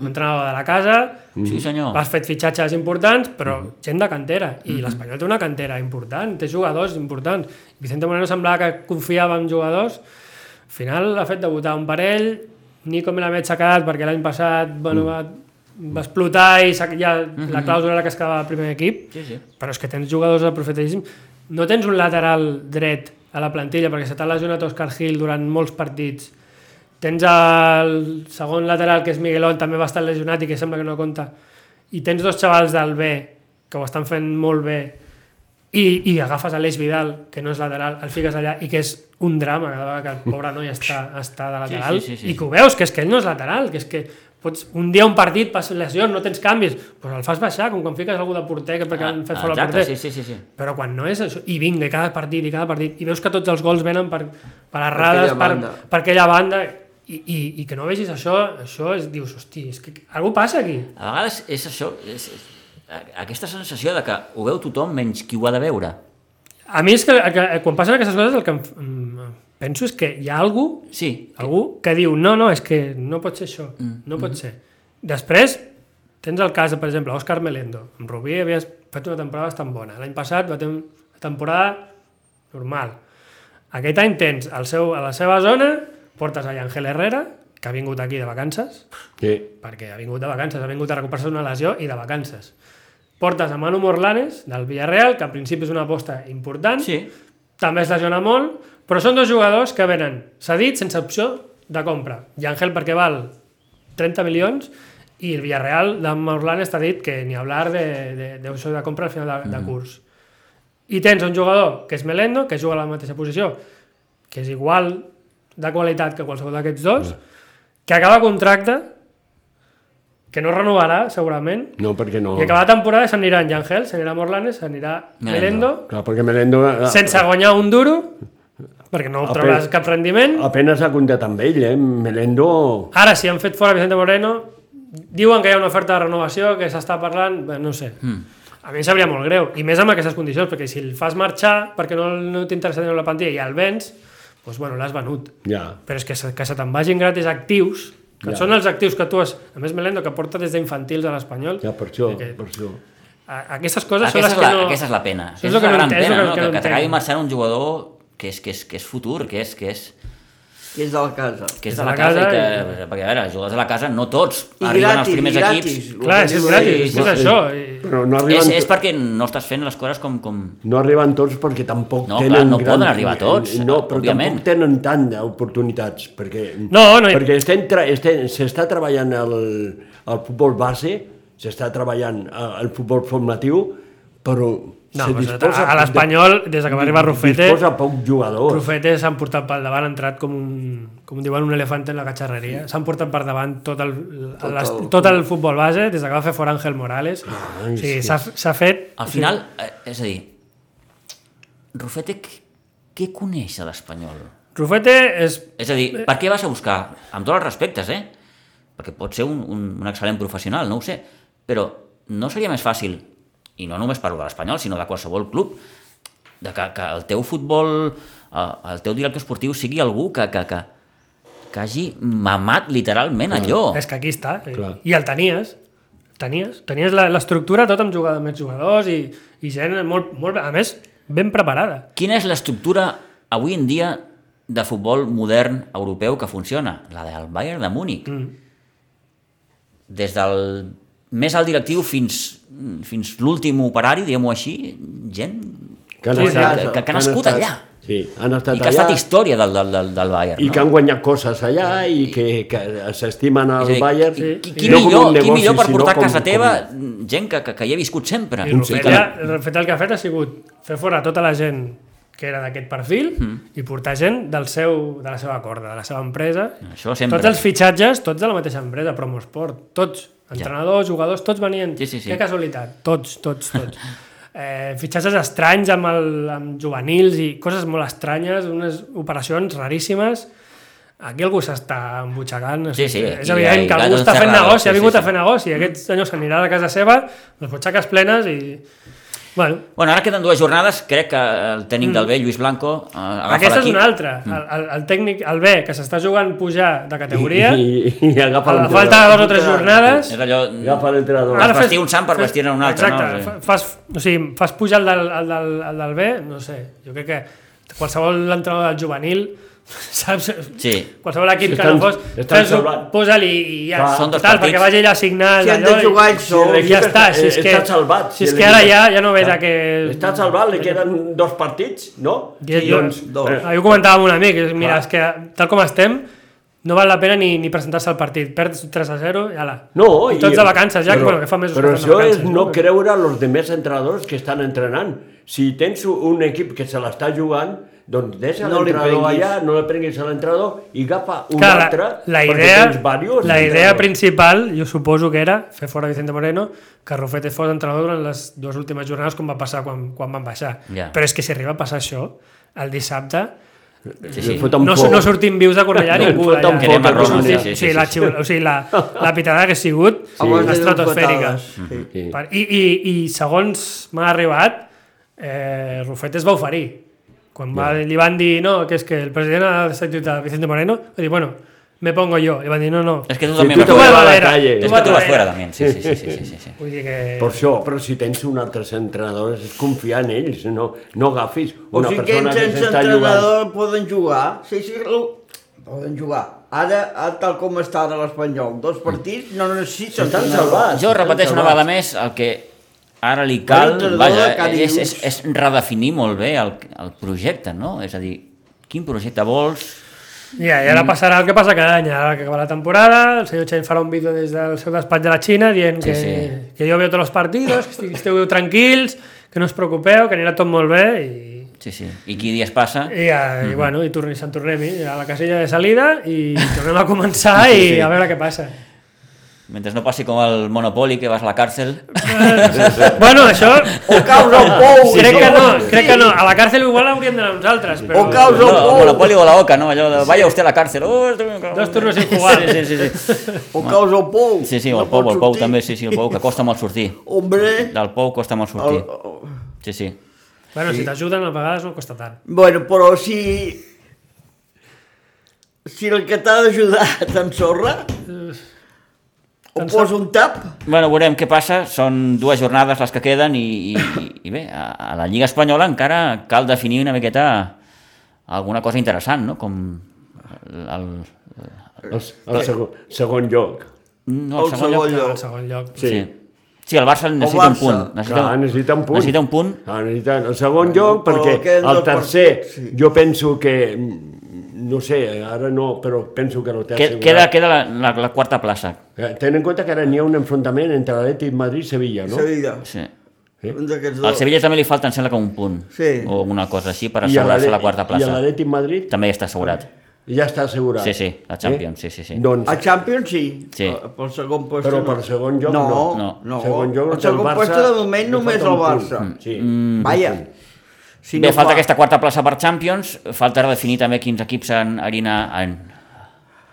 Speaker 4: Un entrenador de la casa,
Speaker 1: Sí, senyor. Mm-hmm.
Speaker 4: has fet fitxatges importants, però gent de cantera. I l'Espanyol té una cantera important, té jugadors importants. Vicente Moreno semblava que confiava en jugadors, al final ha fet debutar un parell, Nico Melamed s'ha quedat perquè l'any passat
Speaker 1: Mm.
Speaker 4: bueno, va, va explotar i s'ha- ja
Speaker 1: Mm-hmm.
Speaker 4: la clàusula era que es quedava al primer equip,
Speaker 1: Sí, sí.
Speaker 4: però és que tens jugadors aprofitadíssims. No tens un lateral dret a la plantilla perquè se t'ha lesionat Oscar Gil durant molts partits. Tens el segon lateral, que és Miguelón, també va estar lesionat i que sembla que no compta. I tens dos xavals del B, que ho estan fent molt bé, i, i agafes a l'Eix Vidal, que no és lateral, el fiques allà, i que és un drama cada vegada que el pobre noi està, està de lateral,
Speaker 1: sí, sí, sí.
Speaker 4: i que ho veus, que és que ell no és lateral, que és que pots, un dia un partit passa lesió, no tens canvis, doncs el fas baixar, com quan fiques algú de porter que perquè han fet fora el
Speaker 1: Ah, Exacte,
Speaker 4: porter.
Speaker 1: sí, sí, sí, sí.
Speaker 4: Però quan no és això, i vinga, i cada partit, i cada partit, i veus que tots els gols venen per, per
Speaker 2: aquella
Speaker 4: errades, per,
Speaker 2: banda.
Speaker 4: per aquella banda, i, i, i que no vegis això, això és, dius, hosti, és que algú passa aquí.
Speaker 1: A vegades és això, és, és, a- aquesta sensació de que ho veu tothom menys qui ho ha de veure.
Speaker 4: A mi és que, que quan passen aquestes coses el que em, em- penso és que hi ha algú
Speaker 1: Sí,
Speaker 4: algú que diu, no, no, és que no pot ser això, no pot ser. Després, tens el cas, de, per exemple, Òscar Melendo. Amb Rubí havies fet una temporada bastant bona. L'any passat va tenir una temporada normal. Aquest any tens el seu, a la seva zona, portes allà Ángel Herrera, que ha vingut aquí de vacances,
Speaker 3: Sí.
Speaker 4: perquè ha vingut de vacances, ha vingut a recuperar-se d'una lesió i de vacances. Portes a Manu Morlanes, del Villarreal, que al principi és una aposta important,
Speaker 1: sí.
Speaker 4: també es lesiona molt, però són dos jugadors que venen cedit sense opció de compra. I Àngel perquè val 30 milions i el Villarreal de Maurlan està dit que ni hablar de, de, de opció de compra al final de, de curs. I tens un jugador que és Melendo, que juga a la mateixa posició, que és igual de qualitat que qualsevol d'aquests dos, que acaba contracte, que no renovarà segurament,
Speaker 3: No, perquè no...
Speaker 4: i acabar la temporada s'anirà en Jangel, s'anirà Morlanes, s'anirà
Speaker 1: Melendo.
Speaker 4: Melendo,
Speaker 3: Clar, perquè Melendo... eh,
Speaker 4: sense guanyar un duro, perquè no trauràs cap rendiment.
Speaker 3: Apenes ha comptat amb ell, eh? Melendo...
Speaker 4: Ara, si han fet fora Vicente Moreno, Diuen que hi ha una oferta de renovació, que s'està parlant, bé, no ho sé. Mm. A mi em sabria molt greu, i més amb aquestes condicions, perquè si el fas marxar perquè no, no t'interessa tenir la plantilla i el vens, doncs bueno, l'has venut.
Speaker 3: Ja.
Speaker 4: Però és que se, que se te'n vagin gratis actius, que
Speaker 3: Ja.
Speaker 4: són els actius que tu has... A més, Melendo, que porta des d'infantils a l'Espanyol.
Speaker 3: Ja, per això,
Speaker 4: que-
Speaker 3: per això.
Speaker 4: a- Aquestes coses
Speaker 1: Aquesta és,
Speaker 4: són
Speaker 1: la,
Speaker 4: les que no...
Speaker 1: aquesta és la pena. Aquesta
Speaker 4: Això és el
Speaker 1: és la
Speaker 4: que no
Speaker 1: gran
Speaker 4: entenc, és el
Speaker 1: pena,
Speaker 4: que-
Speaker 1: no?
Speaker 4: que
Speaker 1: Que,
Speaker 4: no
Speaker 1: que t'acabi
Speaker 4: entenc.
Speaker 1: marxant un jugador que és, que és, que és futur, que és, que és,
Speaker 2: que és de la casa.
Speaker 1: que és de la casa, i que, perquè a veure, els jugadors de la casa no tots arriben als primers equips.
Speaker 2: el
Speaker 4: Clar,
Speaker 2: que
Speaker 4: és, és
Speaker 2: diu
Speaker 4: gratis,
Speaker 2: ell.
Speaker 4: és això. i-
Speaker 3: Però no arriben,
Speaker 1: És, és perquè no estàs fent les coses com... com...
Speaker 3: no arriben tots perquè tampoc
Speaker 1: No,
Speaker 3: tenen...
Speaker 1: clar, no
Speaker 3: grans-
Speaker 1: poden arribar tots,
Speaker 3: No, però
Speaker 1: òbviament.
Speaker 3: tampoc tenen tant d'oportunitats, perquè...
Speaker 4: No, no hi-
Speaker 3: Perquè estem tra- estem- s'està treballant el, el futbol base, s'està treballant eh, el futbol formatiu, però
Speaker 4: No,
Speaker 3: se
Speaker 4: però
Speaker 3: disposa...
Speaker 4: a l'Espanyol, des que va arribar Rufete,
Speaker 3: Disposa poc jugadors.
Speaker 4: Rufete s'han portat pel davant, ha entrat com un, com diuen, un elefant en la catxarreria. S'han portat per davant tot el, tot, les,
Speaker 2: el-
Speaker 4: tot el futbol base, des que va fer fora Ángel Morales.
Speaker 3: Ah,
Speaker 4: o
Speaker 3: Ai,
Speaker 4: sigui,
Speaker 3: sí.
Speaker 4: s'ha s'ha fet...
Speaker 1: Al final, eh, és a dir, Rufete, qu- què coneix de l'Espanyol?
Speaker 4: Rufete és...
Speaker 1: És a dir, per què vas a buscar, amb tots els respectes, eh? Perquè pot ser un, un, un excel·lent professional, no ho sé, però no seria més fàcil, i no només parlo de l'Espanyol, sinó de qualsevol club, de que, que el teu futbol, eh, el teu director esportiu sigui algú que, que, que, que hagi mamat literalment allò.
Speaker 4: És que aquí està. eh,
Speaker 3: Clar.
Speaker 4: I el tenies. Tenies. Tenies la- l'estructura tot amb jugadors, més jugadors i, i gent molt, molt... A més, ben preparada.
Speaker 1: Quina és l'estructura avui en dia de futbol modern europeu que funciona? La del Bayern de Múnich. Mm. Des del més alt directiu fins, fins l'últim operari, diguem-ho així, gent
Speaker 3: Que han
Speaker 4: Sí,
Speaker 3: estat-
Speaker 1: que- que- que han nascut
Speaker 3: estat-
Speaker 1: allà.
Speaker 3: Sí, han estat
Speaker 1: i que ha
Speaker 3: allà.
Speaker 1: estat història del, del, del, del Bayern.
Speaker 3: i
Speaker 1: no?
Speaker 3: que han guanyat coses allà i que, que s'estimen
Speaker 1: És a
Speaker 3: al
Speaker 1: dir,
Speaker 3: Bayern.
Speaker 1: qui, qui, qui,
Speaker 3: no com un
Speaker 1: millor, qui
Speaker 3: negoci,
Speaker 1: millor per
Speaker 3: sinó
Speaker 1: portar
Speaker 3: com-
Speaker 1: a casa
Speaker 3: com-
Speaker 1: teva gent que, que, que hi ha viscut sempre.
Speaker 4: I
Speaker 3: Un
Speaker 4: Rufet,
Speaker 3: cicle.
Speaker 4: ja, Rufet el que ha fet ha sigut fer fora tota la gent que era d'aquest perfil mm. i portar gent del seu, de la seva corda, de la seva empresa.
Speaker 1: Això sempre.
Speaker 4: Tots els fitxatges, tots de la mateixa empresa, Promosport, tots. Entrenadors, ja. jugadors, tots venien.
Speaker 1: Sí, sí, sí.
Speaker 4: Que casualitat. Tots, tots, tots. eh, fitxatges estranys amb, el, amb juvenils i coses molt estranyes, unes operacions raríssimes. Aquí algú s'està embutxacant.
Speaker 1: Sí, sí,
Speaker 4: És
Speaker 1: i-
Speaker 4: evident
Speaker 1: i
Speaker 4: que algú
Speaker 1: Gato
Speaker 4: està fent
Speaker 1: Encerrado,
Speaker 4: negoci,
Speaker 1: sí,
Speaker 4: ha vingut
Speaker 1: sí,
Speaker 4: a fer negoci. Aquest senyor s'anirà de casa seva, les butxaques plenes i... Bueno,
Speaker 1: Bueno, ara queden dues jornades, crec que el
Speaker 3: Mm.
Speaker 1: tècnic del B, Lluís Blanco, eh, agafa Mm.
Speaker 4: aquesta és
Speaker 1: l'equip.
Speaker 4: una altra. El, el, el tècnic, el B, que s'està jugant pujar de categoria,
Speaker 3: I, i, i
Speaker 4: a
Speaker 3: agafa
Speaker 4: la falta de
Speaker 3: l'entrenador.
Speaker 4: dues o tres jornades...
Speaker 1: És allò...
Speaker 3: Agafa l'entrenador.
Speaker 1: Ara- vestir un sant per vestir-ne un altre,
Speaker 4: Exacte,
Speaker 1: no? Sí.
Speaker 4: fa- fas, o sigui, fas pujar el del, el, del, el del B, no sé, jo crec que qualsevol entrenador del juvenil, saps?
Speaker 1: Sí.
Speaker 4: Qualsevol equip que
Speaker 3: Estan-
Speaker 4: no fos,
Speaker 3: estan
Speaker 4: fes-ho,
Speaker 3: salvant.
Speaker 4: posa'l i, i ja,
Speaker 3: Clar.
Speaker 1: Són dos
Speaker 4: total,
Speaker 1: partits.
Speaker 4: perquè vagi allà a signar...
Speaker 2: Si han
Speaker 4: allò
Speaker 2: de
Speaker 4: i-
Speaker 2: jugar ells
Speaker 3: Si
Speaker 2: sols,
Speaker 3: l'equip
Speaker 4: ja està, si és
Speaker 3: està
Speaker 4: que-
Speaker 3: salvat.
Speaker 4: si és que
Speaker 3: l'equip-
Speaker 4: ara ja- ja no ves
Speaker 3: Clar.
Speaker 4: a que-
Speaker 3: Està salvat, li queden dos partits, no?
Speaker 4: Ja-
Speaker 3: Sí,
Speaker 4: ja-
Speaker 3: doncs,
Speaker 2: dos.
Speaker 3: eh,
Speaker 4: Ah, jo ho comentava amb un amic, és, mira, és que tal com estem, no val la pena ni, ni presentar-se al partit. Perds 3 a 0 i ala.
Speaker 3: No,
Speaker 4: I tots de vacances ja, que, bueno, que fa mesos
Speaker 3: Però
Speaker 4: que estan
Speaker 3: això
Speaker 4: de vacances.
Speaker 3: és no creure en els demés entrenadors que estan entrenant. Si tens un equip que se l'està jugant, doncs deixa
Speaker 2: No li
Speaker 3: l'entrenador
Speaker 2: prenguis.
Speaker 3: allà, no le prenguis a l'entrenador i agafa un
Speaker 4: Clar,
Speaker 3: altre,
Speaker 4: la, la
Speaker 3: perquè
Speaker 4: idea,
Speaker 3: tens varios
Speaker 4: la idea
Speaker 3: entrenadors.
Speaker 4: principal, jo suposo que era fer fora Vicente Moreno, que Rufete fos entrenador durant les dues últimes jornades com va passar quan, quan van baixar.
Speaker 1: Ja.
Speaker 4: Però és que si arriba a passar això, el dissabte,
Speaker 1: Sí,
Speaker 3: Li
Speaker 1: sí.
Speaker 3: fot un
Speaker 4: no, su-
Speaker 3: foc.
Speaker 4: no sortim vius de Cornellà
Speaker 3: No,
Speaker 4: ningú.
Speaker 3: fot un
Speaker 4: d'allà.
Speaker 3: foc Anem a
Speaker 1: Roma,
Speaker 4: O sigui,
Speaker 1: sí, sí,
Speaker 4: o sigui,
Speaker 1: sí,
Speaker 4: la,
Speaker 1: sí.
Speaker 4: xiu- o sigui, la, la pitada que ha sigut
Speaker 2: A vegades li donen
Speaker 4: estratosfèrica.
Speaker 2: patades, sí.
Speaker 3: Sí.
Speaker 4: Per- I, i, i segons m'ha arribat, eh, Rufet es va oferir. Quan va, li van dir, no, que és que el president ha destituït a Vicente Moreno, va dir, bueno, me pongo yo. I van dir, no, no.
Speaker 1: És que tu
Speaker 3: Sí,
Speaker 1: també vas
Speaker 3: tu te
Speaker 4: Tu
Speaker 1: fora.
Speaker 4: vas
Speaker 3: vas a la
Speaker 4: darrere,
Speaker 3: calle.
Speaker 4: tu
Speaker 1: És
Speaker 4: vas
Speaker 1: que tu vas
Speaker 4: darrere.
Speaker 1: fora també, sí, sí, sí, sí, sí, sí, sí.
Speaker 4: Vull dir que...
Speaker 3: Per això, Eh, però si tens un altre entrenador, és confiar en ells, no, no agafis
Speaker 2: O
Speaker 3: una
Speaker 2: sigui que
Speaker 3: persona
Speaker 2: ells
Speaker 3: que
Speaker 2: sense
Speaker 3: s'està jugant.
Speaker 2: entrenador poden jugar. Sí, sí, lo- poden jugar. Ara, ara, tal com està ara l'Espanyol, dos partits no necessiten
Speaker 3: S'estan
Speaker 2: entrenador.
Speaker 3: salvats.
Speaker 1: Jo repeteixo una vegada més el que ara li cal,
Speaker 2: Entrenador de
Speaker 1: vaja,
Speaker 2: cara i
Speaker 1: és, és,
Speaker 2: ulls.
Speaker 1: és redefinir molt bé el, el projecte, no? És a dir, quin projecte vols?
Speaker 4: Ja, I ara passarà el que passa cada any, ara que acaba la temporada, el senyor Chen farà un vídeo des del seu despatx de la Xina dient
Speaker 1: Sí,
Speaker 4: que,
Speaker 1: sí.
Speaker 4: que jo veo tots els partits, que estic- esteu tranquils, que no us preocupeu, que anirà tot molt bé i...
Speaker 1: Sí, sí. I qui dies passa?
Speaker 4: I, ja, i bueno, i torni, se'n tornem a la casella de salida i tornem a començar i a veure què passa.
Speaker 1: Mentre no passi com el Monopoli, que vas a la càrcel...
Speaker 4: bueno, això...
Speaker 2: O caus al pou.
Speaker 4: Sí, crec que no, crec que no. A la càrcel igual hauríem d'anar nosaltres, però...
Speaker 2: O caus
Speaker 1: No,
Speaker 2: al
Speaker 1: el
Speaker 2: pou.
Speaker 1: Monopoli o la Oca, no? Allò de, vaya usted a la càrcel. Oh,
Speaker 4: Dos turnos sin jugar.
Speaker 1: Sí, sí, sí. Sí,
Speaker 2: O caus al pou.
Speaker 1: sí, sí
Speaker 2: No
Speaker 1: el Pou,
Speaker 2: pots
Speaker 1: el Pou
Speaker 2: sortir.
Speaker 1: també, sí, sí, el Pou, que costa molt sortir.
Speaker 2: Hombre.
Speaker 1: Del Pou costa molt
Speaker 2: El,
Speaker 1: sortir. Sí, sí.
Speaker 4: Bueno, si t'ajuden, a vegades no costa tant.
Speaker 2: bueno, però si... Si el que t'ha d'ajudar t'ensorra,
Speaker 3: Eh,
Speaker 2: o posa un tap,
Speaker 1: Bueno, veurem què passa. Són dues jornades les que queden i, i, i bé, a, a la Lliga Espanyola encara cal definir una miqueta alguna cosa interessant, no? Com el, el,
Speaker 3: El, el segon, segon lloc.
Speaker 1: no,
Speaker 2: el segon
Speaker 4: Al
Speaker 2: lloc.
Speaker 4: segon lloc.
Speaker 1: Sí. sí. Sí, el Barça necessita un
Speaker 2: Barça.
Speaker 1: punt. Necessita,
Speaker 3: Clar, Ah, necessita un punt.
Speaker 1: Necessita un punt.
Speaker 3: Ah, necessita el segon lloc,
Speaker 2: però
Speaker 3: perquè
Speaker 2: queden
Speaker 3: el
Speaker 2: dos
Speaker 3: tercer,
Speaker 2: partits, sí.
Speaker 3: jo penso que, mm, no sé, ara no, però penso que no té
Speaker 1: Que, queda queda la, la, la quarta plaça.
Speaker 3: Eh, Ten en compte que ara n'hi ha un enfrontament entre l'Atlètic Madrid i Sevilla, no?
Speaker 2: Sevilla.
Speaker 1: Sí.
Speaker 2: Un d'aquests
Speaker 1: Al
Speaker 2: dos.
Speaker 1: Sevilla també li falta, em sembla que un punt.
Speaker 2: Sí.
Speaker 1: O alguna cosa així per
Speaker 3: I a
Speaker 1: assegurar-se
Speaker 3: l'Atlè-
Speaker 1: la quarta
Speaker 3: I a
Speaker 1: plaça.
Speaker 3: l'Atlètic Madrid
Speaker 1: També està assegurat.
Speaker 3: ja està assegurat. eh?
Speaker 1: Sí, sí, la Champions, sí, sí, sí.
Speaker 3: Doncs
Speaker 2: A Champions sí,
Speaker 1: Sí.
Speaker 2: eh, pel segon lloc.
Speaker 3: Però per segon lloc
Speaker 2: no.
Speaker 3: no.
Speaker 2: No, no.
Speaker 3: Segon lloc,
Speaker 2: el segon
Speaker 3: del Barça,
Speaker 2: lloc de moment
Speaker 3: li
Speaker 2: només
Speaker 3: falta
Speaker 2: el
Speaker 3: un punt.
Speaker 2: Barça.
Speaker 3: Mm. Sí.
Speaker 2: Mm. Vaja. Si
Speaker 1: Bé, falta
Speaker 2: fa-
Speaker 1: aquesta quarta plaça per Champions, falta definir també quins equips en harina... En...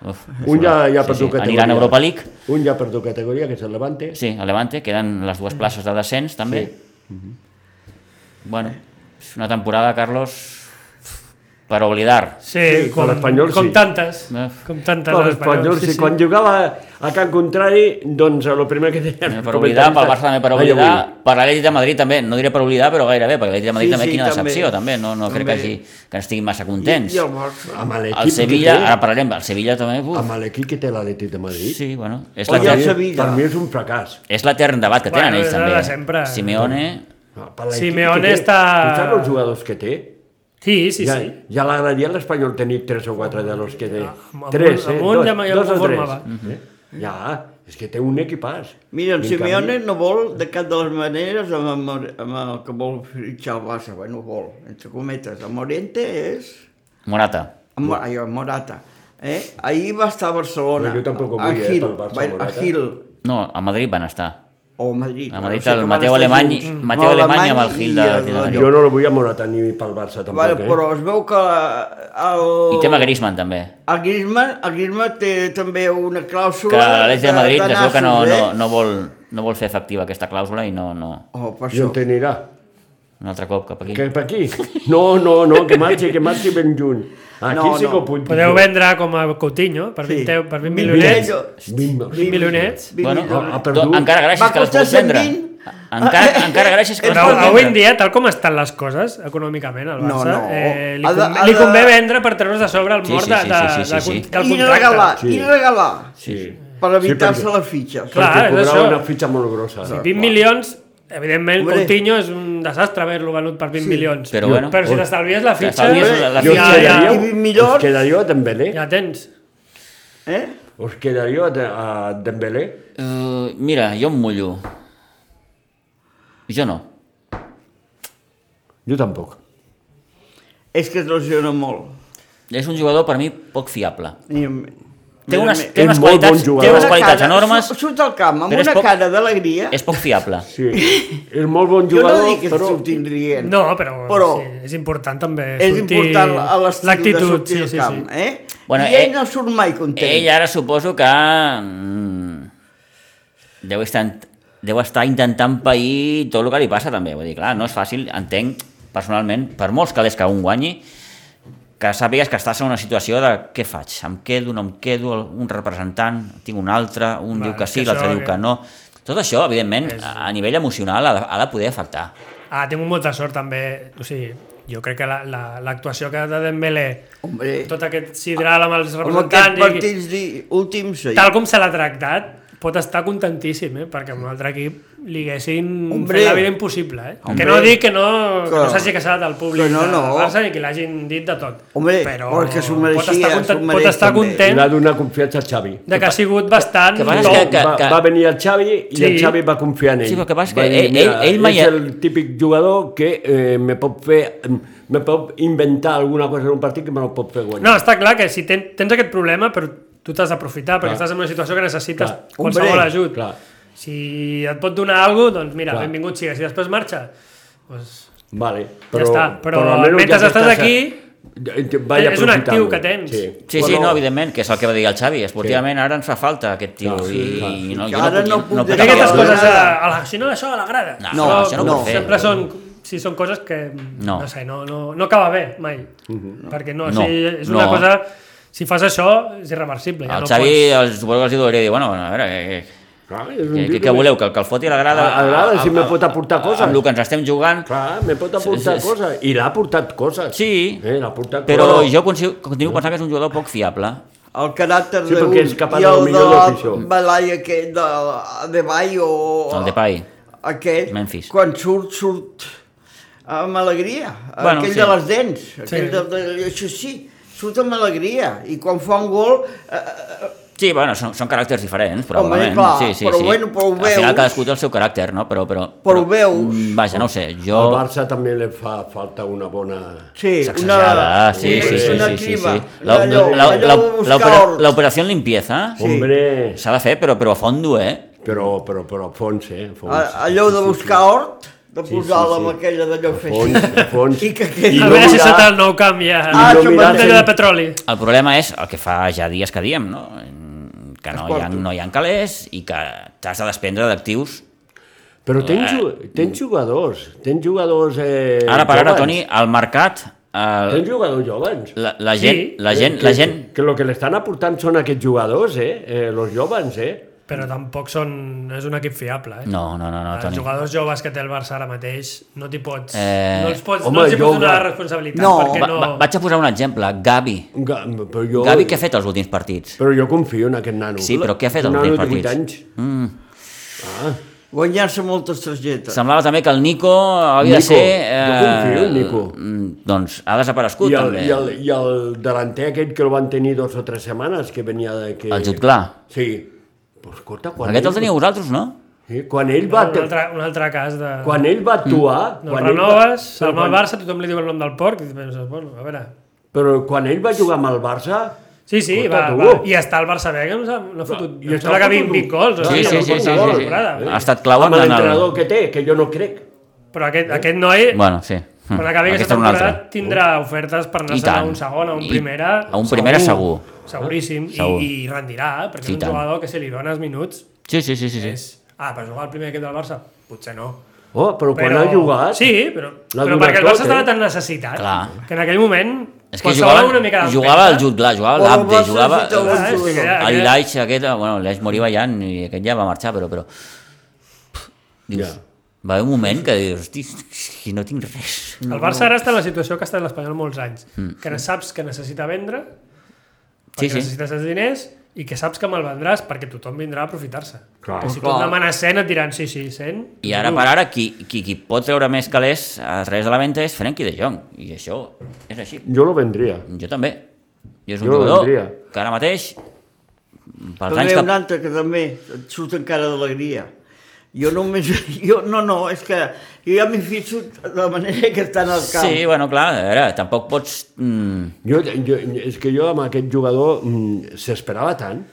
Speaker 1: Uf,
Speaker 3: un ja, ja per
Speaker 1: sí,
Speaker 3: tu
Speaker 1: sí.
Speaker 3: categoria.
Speaker 1: Aniran a Europa League.
Speaker 3: Un ja per tu categoria, que és el Levante.
Speaker 1: Sí, a Levante, queden les dues places de descens també. Sí. Bueno, és una temporada, Carlos, per oblidar.
Speaker 4: Sí,
Speaker 3: Sí,
Speaker 4: com,
Speaker 3: per l'Espanyol
Speaker 4: com
Speaker 3: sí.
Speaker 4: tantes.
Speaker 1: Eh.
Speaker 4: Com tantes.
Speaker 3: Per
Speaker 4: de
Speaker 3: l'Espanyol,
Speaker 4: l'Espanyol,
Speaker 3: sí, quan jugava a Can Contrari, doncs el primer que deia...
Speaker 1: Per oblidar, pel Barça també per
Speaker 2: Ah,
Speaker 3: Ai,
Speaker 1: oblidar,
Speaker 3: avui.
Speaker 1: per l'Atlètic de Madrid també, no diré per oblidar, però gairebé, perquè l'Atlètic de Madrid
Speaker 2: Sí,
Speaker 1: també
Speaker 2: sí,
Speaker 1: quina
Speaker 2: també.
Speaker 1: decepció, també, no, no crec que,
Speaker 2: També.
Speaker 1: hagi, que estiguin massa contents.
Speaker 2: I el Barça.
Speaker 3: Amb l'equip
Speaker 1: el
Speaker 3: que
Speaker 1: Sevilla,
Speaker 3: té,
Speaker 1: ara parlarem, el Sevilla també, uf,
Speaker 3: Amb l'equip que té l'Atlètic de Madrid.
Speaker 1: sí, bueno, és
Speaker 2: O
Speaker 1: la
Speaker 2: ja
Speaker 1: que...
Speaker 2: el Sevilla.
Speaker 3: Per mi és un fracàs.
Speaker 1: És l'etern debat que tenen
Speaker 4: Bueno,
Speaker 1: ells
Speaker 4: és la
Speaker 1: també.
Speaker 4: de
Speaker 1: eh?
Speaker 4: sempre.
Speaker 1: Simeone...
Speaker 3: No, per l'equip
Speaker 4: Simeone
Speaker 3: que té.
Speaker 4: està-
Speaker 3: Tu saps els jugadors que té?
Speaker 4: Sí, sí,
Speaker 3: ja,
Speaker 4: sí. Ah,
Speaker 3: ja l'agradaria a l'Espanyol tenir tres o quatre de los que té.
Speaker 4: amb
Speaker 3: tres,
Speaker 4: un-
Speaker 3: eh?
Speaker 4: amb un
Speaker 3: dos,
Speaker 4: ja me- ja
Speaker 3: dos
Speaker 4: me
Speaker 3: o tres.
Speaker 4: conformava.
Speaker 3: Eh? Ja, és que té un equipàs.
Speaker 2: Mira, en
Speaker 3: En
Speaker 2: Simeone
Speaker 3: canvi-
Speaker 2: no vol de cap de les maneres amb, amb, amb el que vol fitxar el Barça. Bueno, vol, entre cometes. El Morente és...
Speaker 1: Morata.
Speaker 2: Amb, ai, el Morata. Eh? Ahir va estar a Barcelona.
Speaker 3: Però jo tampoc ho
Speaker 2: a
Speaker 3: vull, eh,
Speaker 2: Gil,
Speaker 3: pel Barça,
Speaker 2: va- A
Speaker 3: Morata.
Speaker 2: Gil,
Speaker 1: No, a Madrid van estar.
Speaker 2: o a Madrid.
Speaker 1: A Madrid
Speaker 2: no sé
Speaker 1: el
Speaker 2: com
Speaker 1: Mateu
Speaker 2: van estar
Speaker 1: Alemany-
Speaker 2: junts.
Speaker 1: Mateu
Speaker 2: No,
Speaker 1: Alemany amb el Gil de-
Speaker 2: i
Speaker 1: de- de-
Speaker 2: d'allò.
Speaker 3: Jo no la vull a Morata ni pel Barça, tampoc,
Speaker 2: Vale,
Speaker 3: eh?
Speaker 2: però es veu que el...
Speaker 3: Oh.
Speaker 1: I tema Griezmann també.
Speaker 2: El Griezmann, el Griezmann té també una clàusula...
Speaker 1: Que l'Atlètic de Madrid es veu que no,
Speaker 3: eh?
Speaker 1: no,
Speaker 2: nassos,
Speaker 1: no, vol, no vol fer efectiva aquesta clàusula i no, no,
Speaker 2: eh? Oh, per
Speaker 3: I
Speaker 2: això.
Speaker 3: on t'anirà?
Speaker 1: un altre cop cap aquí.
Speaker 3: Que per aquí? No, no, no, que marxi, que marxi ben lluny. Aquí
Speaker 2: No,
Speaker 3: sí que
Speaker 2: no.
Speaker 3: ho puc dir.
Speaker 4: Podeu vendre com a Coutinho per 20, eu- per 20
Speaker 2: Vint
Speaker 4: milionets.
Speaker 2: milionets.
Speaker 3: Vint-
Speaker 4: 20 milionets.
Speaker 2: Vint
Speaker 1: Bueno,
Speaker 2: milions.
Speaker 3: ha perdut.
Speaker 1: to- encara gràcies
Speaker 2: Va
Speaker 1: que les
Speaker 2: costar
Speaker 1: pots vendre. Ah,
Speaker 2: 120.
Speaker 1: Encara,
Speaker 3: Ah, eh,
Speaker 1: encara gràcies que les
Speaker 4: Però
Speaker 1: pots
Speaker 4: avui en
Speaker 1: vendre.
Speaker 4: dia, tal com estan les coses econòmicament al
Speaker 2: No,
Speaker 4: Barça,
Speaker 2: no.
Speaker 4: eh, li,
Speaker 2: Ha de-
Speaker 4: convé,
Speaker 2: ha
Speaker 4: li
Speaker 2: de-
Speaker 4: convé vendre per treure's de sobre el
Speaker 1: Sí,
Speaker 4: mort
Speaker 1: sí,
Speaker 4: de,
Speaker 1: sí,
Speaker 4: de,
Speaker 1: sí, sí,
Speaker 4: de,
Speaker 1: sí,
Speaker 4: con-
Speaker 1: sí.
Speaker 4: del
Speaker 2: I
Speaker 4: contracte.
Speaker 2: regalar,
Speaker 3: Sí.
Speaker 2: i regalar,
Speaker 3: Sí.
Speaker 2: per evitar-se
Speaker 3: perquè-
Speaker 2: la fitxa.
Speaker 4: Clar.
Speaker 3: perquè
Speaker 4: Ah, és això.
Speaker 3: cobrava una fitxa molt grossa.
Speaker 4: 20 milions, evidentment,
Speaker 2: Hombre.
Speaker 4: Coutinho és un desastre haver-lo venut per 20 milions.
Speaker 1: Però bueno.
Speaker 4: però si t'estalvies la fitxa,
Speaker 1: T'estalvies la- la
Speaker 4: ja,
Speaker 1: fitxa.
Speaker 3: Jo us
Speaker 4: ja,
Speaker 3: quedaríeu,
Speaker 2: I vint milions.
Speaker 3: us quedaríeu a Dembélé?
Speaker 4: ja tens.
Speaker 2: Eh?
Speaker 3: Us quedaríeu a, de- a Dembélé?
Speaker 1: Uh, mira, jo em mullo. Jo no.
Speaker 3: Jo tampoc.
Speaker 2: És que es lesiona molt.
Speaker 1: És un jugador per mi poc fiable.
Speaker 2: I amb-
Speaker 1: Té
Speaker 2: Mira,
Speaker 1: unes,
Speaker 2: mira,
Speaker 1: té unes
Speaker 3: És molt bon
Speaker 1: qualitats, té
Speaker 3: jugador.
Speaker 1: unes
Speaker 2: una
Speaker 1: qualitats
Speaker 2: cara-
Speaker 1: enormes,
Speaker 2: surt- Surt al camp amb
Speaker 1: però és
Speaker 2: una
Speaker 1: poc-
Speaker 2: cara d'alegria.
Speaker 1: és poc fiable.
Speaker 3: Sí, és molt bon
Speaker 2: Jo no
Speaker 3: jugador,
Speaker 2: dic que
Speaker 3: però...
Speaker 2: surtin rient.
Speaker 4: No, però,
Speaker 2: Però-
Speaker 4: sí, és important també
Speaker 2: És
Speaker 4: sortir-
Speaker 2: important a l'estil de
Speaker 4: l'actitud,
Speaker 2: sortir
Speaker 4: sí,
Speaker 2: al
Speaker 4: sí,
Speaker 2: camp,
Speaker 4: sí.
Speaker 2: eh?
Speaker 1: Bueno,
Speaker 2: I ell
Speaker 1: eh,
Speaker 2: no surt mai content.
Speaker 1: Ell ara suposo que mm, deu estar, deu estar intentant pair tot el que li passa també. Vull dir, clar, no és fàcil, entenc personalment, per molts calés que un guanyi, que sàpigues que estàs en una situació de què faig, em quedo, no em quedo, un representant, tinc un altre, un
Speaker 4: Va,
Speaker 1: diu que
Speaker 4: és
Speaker 1: sí,
Speaker 4: que
Speaker 1: l'altre
Speaker 4: això
Speaker 1: diu
Speaker 4: que-
Speaker 1: que no. Tot això, evidentment, a a nivell emocional ha de, ha de poder afectar.
Speaker 2: eh.
Speaker 4: Ah, tinc molta sort també, o sigui, jo crec que la- la- l'actuació la, que de Dembélé,
Speaker 2: Hombre,
Speaker 4: tot aquest sidral amb els
Speaker 2: amb aquests
Speaker 4: representants, i,
Speaker 2: partits di... últims... Sí.
Speaker 4: tal com se l'ha tractat, pot estar contentíssim, eh? perquè amb un altre equip li haguessin
Speaker 2: Hombre.
Speaker 4: fet la vida impossible. Eh?
Speaker 2: Hombre.
Speaker 4: Que no dic que no, que
Speaker 2: Que-
Speaker 4: no s'hagi casat al públic
Speaker 2: que no, no.
Speaker 4: del Barça ni que l'hagin dit de tot.
Speaker 2: Hombre,
Speaker 4: però
Speaker 2: perquè s'ho mereixia,
Speaker 4: pot estar content,
Speaker 2: s'ho mereix
Speaker 4: pot estar
Speaker 2: també.
Speaker 4: content
Speaker 3: L'ha donat confiança a Xavi.
Speaker 4: de que ha sigut bastant...
Speaker 1: que passa és
Speaker 4: tou.
Speaker 1: que-
Speaker 3: va, va venir el Xavi i
Speaker 4: Sí.
Speaker 3: el Xavi va confiar en ell.
Speaker 1: Sí, però el que passa és que
Speaker 3: Va dir,
Speaker 1: ell-
Speaker 3: "Mira,
Speaker 1: ell- ell mai
Speaker 3: És
Speaker 1: ha-
Speaker 3: el típic jugador que eh, me pot fer... Me pot inventar alguna cosa en un partit que me la pot fer guanyar.
Speaker 4: No, està clar que si ten, tens aquest problema, però Tu t'has d'aprofitar perquè
Speaker 3: Clar.
Speaker 4: estàs en una situació que necessites
Speaker 3: Clar.
Speaker 4: qualsevol
Speaker 2: Hombre.
Speaker 4: ajut.
Speaker 3: Clar.
Speaker 4: Si et pot donar alguna cosa, doncs mira,
Speaker 3: Clar.
Speaker 4: benvingut siga. Si després marxa, doncs...
Speaker 3: Vale,
Speaker 4: Ja
Speaker 3: però,
Speaker 4: està, però
Speaker 3: almenys
Speaker 4: mentre
Speaker 3: ja que
Speaker 4: estàs
Speaker 3: estàs a-
Speaker 4: aquí,
Speaker 3: ja- vaig
Speaker 4: és un actiu
Speaker 3: aprofitant-ho.
Speaker 4: que tens.
Speaker 1: Sí, sí, no, evidentment, que és el que va dir el Xavi. Esportivament ara ens fa falta aquest tio.
Speaker 3: Clar,
Speaker 1: i,
Speaker 3: clar.
Speaker 1: i no,
Speaker 2: Que
Speaker 1: jo no
Speaker 2: ara
Speaker 1: puc,
Speaker 2: no puc
Speaker 1: no puc
Speaker 2: deixar
Speaker 4: aquestes
Speaker 1: acabar-
Speaker 2: Acabador.
Speaker 4: coses, a, a la, Ah, si no, això a l'agrada.
Speaker 1: No,
Speaker 4: Però
Speaker 1: això no ho pot fer.
Speaker 4: Sempre són, si són coses que no,
Speaker 1: No.
Speaker 4: no sé, no, no, no acaba bé mai. Perquè
Speaker 1: No,
Speaker 4: no, no si és una
Speaker 1: no.
Speaker 4: cosa... Si fas això, és irreversible. Ja
Speaker 1: El
Speaker 4: no
Speaker 1: Xavi,
Speaker 4: pots...
Speaker 1: els suposo que els hi doleria dir, bueno, a veure, eh, que,
Speaker 3: Clar, és un
Speaker 2: Mm,
Speaker 1: que,
Speaker 3: tio
Speaker 1: que, que voleu? Que, que el foti a l'agrada?
Speaker 3: A- a l'agrada,
Speaker 1: amb-
Speaker 3: si me
Speaker 1: amb-
Speaker 3: pot aportar coses.
Speaker 1: Amb el que ens estem jugant.
Speaker 3: Clar, me pot aportar
Speaker 1: Sí, sí, sí.
Speaker 3: coses. I l'ha aportat coses.
Speaker 1: Sí,
Speaker 3: Eh, l'ha aportat
Speaker 1: Però
Speaker 3: coses.
Speaker 1: jo continuo, continuo pensant que és un jugador poc fiable.
Speaker 2: El caràcter
Speaker 3: Sí,
Speaker 2: de
Speaker 3: perquè
Speaker 2: un
Speaker 3: és cap a
Speaker 2: i
Speaker 3: del
Speaker 2: el de
Speaker 3: millor del pitjor.
Speaker 2: Balai aquest, de, de Bay o...
Speaker 4: Oh.
Speaker 1: El Depay.
Speaker 2: Aquest,
Speaker 1: Memphis.
Speaker 2: quan surt, surt amb alegria.
Speaker 1: Bueno,
Speaker 2: aquell
Speaker 1: sí.
Speaker 2: de les dents. Aquell de, de, això sí, surt amb alegria. I quan fa un gol, eh,
Speaker 1: Sí, bueno, són, són caràcters diferents,
Speaker 2: Home,
Speaker 1: probablement.
Speaker 2: clar,
Speaker 1: sí, sí,
Speaker 2: però
Speaker 1: sí.
Speaker 2: bueno, però ho
Speaker 1: Al final
Speaker 2: veus.
Speaker 1: cadascú té el seu caràcter, no? Però, però,
Speaker 2: Però ho veus.
Speaker 1: mm, Vaja, no ho sé, jo...
Speaker 3: Al Barça també li fa falta una bona...
Speaker 2: sí,
Speaker 1: Sacsejada, sí, sí, sí,
Speaker 2: una
Speaker 1: sí, sí,
Speaker 2: criba.
Speaker 1: sí. La-
Speaker 2: Allò,
Speaker 1: la- la-
Speaker 2: allò
Speaker 1: la-
Speaker 2: de buscar
Speaker 1: l'opera-
Speaker 2: horts.
Speaker 1: L'operació en limpieza
Speaker 2: Sí.
Speaker 3: Hombre,
Speaker 1: s'ha de fer, però, però a fondo, eh?
Speaker 3: però, però, però a fons, eh? a Fons.
Speaker 2: A- Allò de buscar hort, de
Speaker 3: sí,
Speaker 2: posar-la
Speaker 3: sí.
Speaker 2: amb aquella d'allò
Speaker 3: A
Speaker 2: fer
Speaker 3: fons,
Speaker 2: així.
Speaker 3: a fons.
Speaker 2: I que quedi-
Speaker 3: I
Speaker 4: A
Speaker 3: no
Speaker 1: eh?
Speaker 4: veure si
Speaker 3: mirar-
Speaker 4: sota el nou camp ja...
Speaker 2: Ah,
Speaker 3: I no
Speaker 2: això
Speaker 3: mirar
Speaker 2: mateix.
Speaker 4: Talla de
Speaker 3: sempre-
Speaker 4: petroli.
Speaker 1: El problema és el que fa ja dies que diem, no? Que no hi ha, no hi ha calés i que t'has de desprendre d'actius.
Speaker 3: Però tens, ju- tens jugadors, tens jugadors... Eh,
Speaker 1: Eh. Ara per ara,
Speaker 3: joves.
Speaker 1: Toni, al mercat, el,
Speaker 3: Tens jugadors joves.
Speaker 1: la, la gent,
Speaker 4: Sí.
Speaker 1: la gent,
Speaker 3: que,
Speaker 1: la gent...
Speaker 3: Que, que el que li estan aportant són aquests jugadors, eh? eh los joves, eh?
Speaker 4: Però tampoc són, no és un equip fiable. Eh?
Speaker 1: No, no, no, no,
Speaker 4: Els
Speaker 1: Toni.
Speaker 4: jugadors joves que té el Barça ara mateix no t'hi pots...
Speaker 1: Eh,
Speaker 4: no els pots,
Speaker 3: home,
Speaker 4: no els hi
Speaker 3: jo-
Speaker 4: pots donar la responsabilitat.
Speaker 2: No,
Speaker 4: perquè
Speaker 1: Va,
Speaker 4: no...
Speaker 1: va, vaig a posar un exemple, Gavi.
Speaker 3: Ga- Però jo,
Speaker 1: Gavi, què ha fet els últims partits?
Speaker 3: Però jo confio en aquest nano.
Speaker 1: Sí, però què ha fet
Speaker 3: Un
Speaker 1: els
Speaker 3: nano
Speaker 1: últims
Speaker 3: de vuit
Speaker 1: partits? Mm.
Speaker 3: anys.
Speaker 2: Guanyar-se moltes targetes.
Speaker 1: Semblava també que el Nico havia de
Speaker 3: Nico,
Speaker 1: ser... eh,
Speaker 3: jo confio en Nico.
Speaker 1: mm, Doncs ha desaparegut,
Speaker 3: I el,
Speaker 1: també.
Speaker 3: i, el, I el delanter aquest que el van tenir dos o tres setmanes, que venia de... Que...
Speaker 1: El Jutglà.
Speaker 3: Sí. Però escolta, quan
Speaker 1: Aquest
Speaker 3: ell,
Speaker 1: el teniu vosaltres, no?
Speaker 3: Sí, quan ell va...
Speaker 4: un, altre, un altre cas de...
Speaker 3: Quan ell va actuar...
Speaker 4: Mm. No
Speaker 3: quan
Speaker 4: el
Speaker 3: ell va-
Speaker 4: renoves, el mal
Speaker 3: quan-
Speaker 4: Barça, tothom li diu el nom del porc, i penses, bueno, a veure...
Speaker 3: Però quan ell va jugar amb el Barça...
Speaker 4: Sí, sí,
Speaker 3: Escolta,
Speaker 4: va,
Speaker 3: tu.
Speaker 4: va, i està el Barça bé, que no s'ha no ha fotut...
Speaker 3: I
Speaker 4: I em
Speaker 3: està
Speaker 4: sembla que 20,
Speaker 3: fotut.
Speaker 4: 20 gols, o
Speaker 3: Sí,
Speaker 4: sigui,
Speaker 3: sí,
Speaker 4: no fot
Speaker 3: sí, sí,
Speaker 4: gol,
Speaker 3: sí, sí.
Speaker 4: temporada.
Speaker 1: Ha estat clau
Speaker 3: amb
Speaker 1: en
Speaker 3: l'entrenador
Speaker 1: el...
Speaker 3: que té, que jo no crec.
Speaker 4: Però aquest, aquest noi,
Speaker 1: Bueno, sí.
Speaker 4: quan acabi aquesta
Speaker 1: és una altra.
Speaker 4: temporada, tindrà ofertes per
Speaker 1: I
Speaker 4: anar-se'n a
Speaker 1: tant.
Speaker 4: un segon, a un
Speaker 1: I-
Speaker 4: primera...
Speaker 1: a un primera segur.
Speaker 4: Seguríssim, i,
Speaker 1: Segur.
Speaker 4: i rendirà, eh, perquè
Speaker 1: Sí,
Speaker 4: és un
Speaker 1: tant.
Speaker 4: jugador que si li dones minuts...
Speaker 1: Sí, sí, sí, sí. sí.
Speaker 4: És... Ah, per jugar al primer equip del Barça? Potser no.
Speaker 3: Oh, però, quan ha jugat...
Speaker 4: Sí, però,
Speaker 3: l'ha
Speaker 4: però
Speaker 3: donat
Speaker 4: perquè el
Speaker 3: tot,
Speaker 4: Barça
Speaker 3: eh?
Speaker 4: estava tan necessitat
Speaker 1: Clar.
Speaker 4: que en aquell moment
Speaker 1: És que
Speaker 4: qualsevol
Speaker 1: jugava,
Speaker 4: una mica de
Speaker 1: jugava el Jutglà, jugava
Speaker 2: Però
Speaker 1: l'Abde,
Speaker 2: va ser
Speaker 1: jugava...
Speaker 2: Jutglà,
Speaker 4: Ah, és que ja-
Speaker 1: El
Speaker 4: aquest-
Speaker 1: Laix, aquest, bueno, l'Eix moriva ja i aquest ja va marxar, però... però pff, dius,
Speaker 3: Ja.
Speaker 1: va haver un moment que dius, hosti, és que no tinc res.
Speaker 4: El Barça ara està en la situació que està en l'Espanyol molts anys, mm. que saps que necessita vendre, perquè
Speaker 1: sí.
Speaker 4: necessites els diners, i que saps que me'l vendràs perquè tothom vindrà a aprofitar-se.
Speaker 3: Clar.
Speaker 4: Que si tu
Speaker 2: Clar.
Speaker 4: et demanes 100 et diran sí, sí, 100.
Speaker 1: I ara per ara, qui, qui, qui pot treure més calés a través de la venda és Frenkie de Jong. I això és així.
Speaker 3: Jo lo vendria.
Speaker 1: Jo també. Jo és un
Speaker 3: Jo el
Speaker 1: jugador
Speaker 3: vendria.
Speaker 1: que ara mateix, pels
Speaker 2: També
Speaker 1: anys
Speaker 2: hi ha un
Speaker 1: que...
Speaker 2: altre que també et surt encara d'alegria. Jo només... Jo, no, no, és que jo ja m'hi fixo de la manera que estan al camp.
Speaker 1: Sí, bueno, clar, a veure, tampoc pots... Mm,
Speaker 3: Jo, jo, és que jo amb aquest jugador mm, s'esperava tant,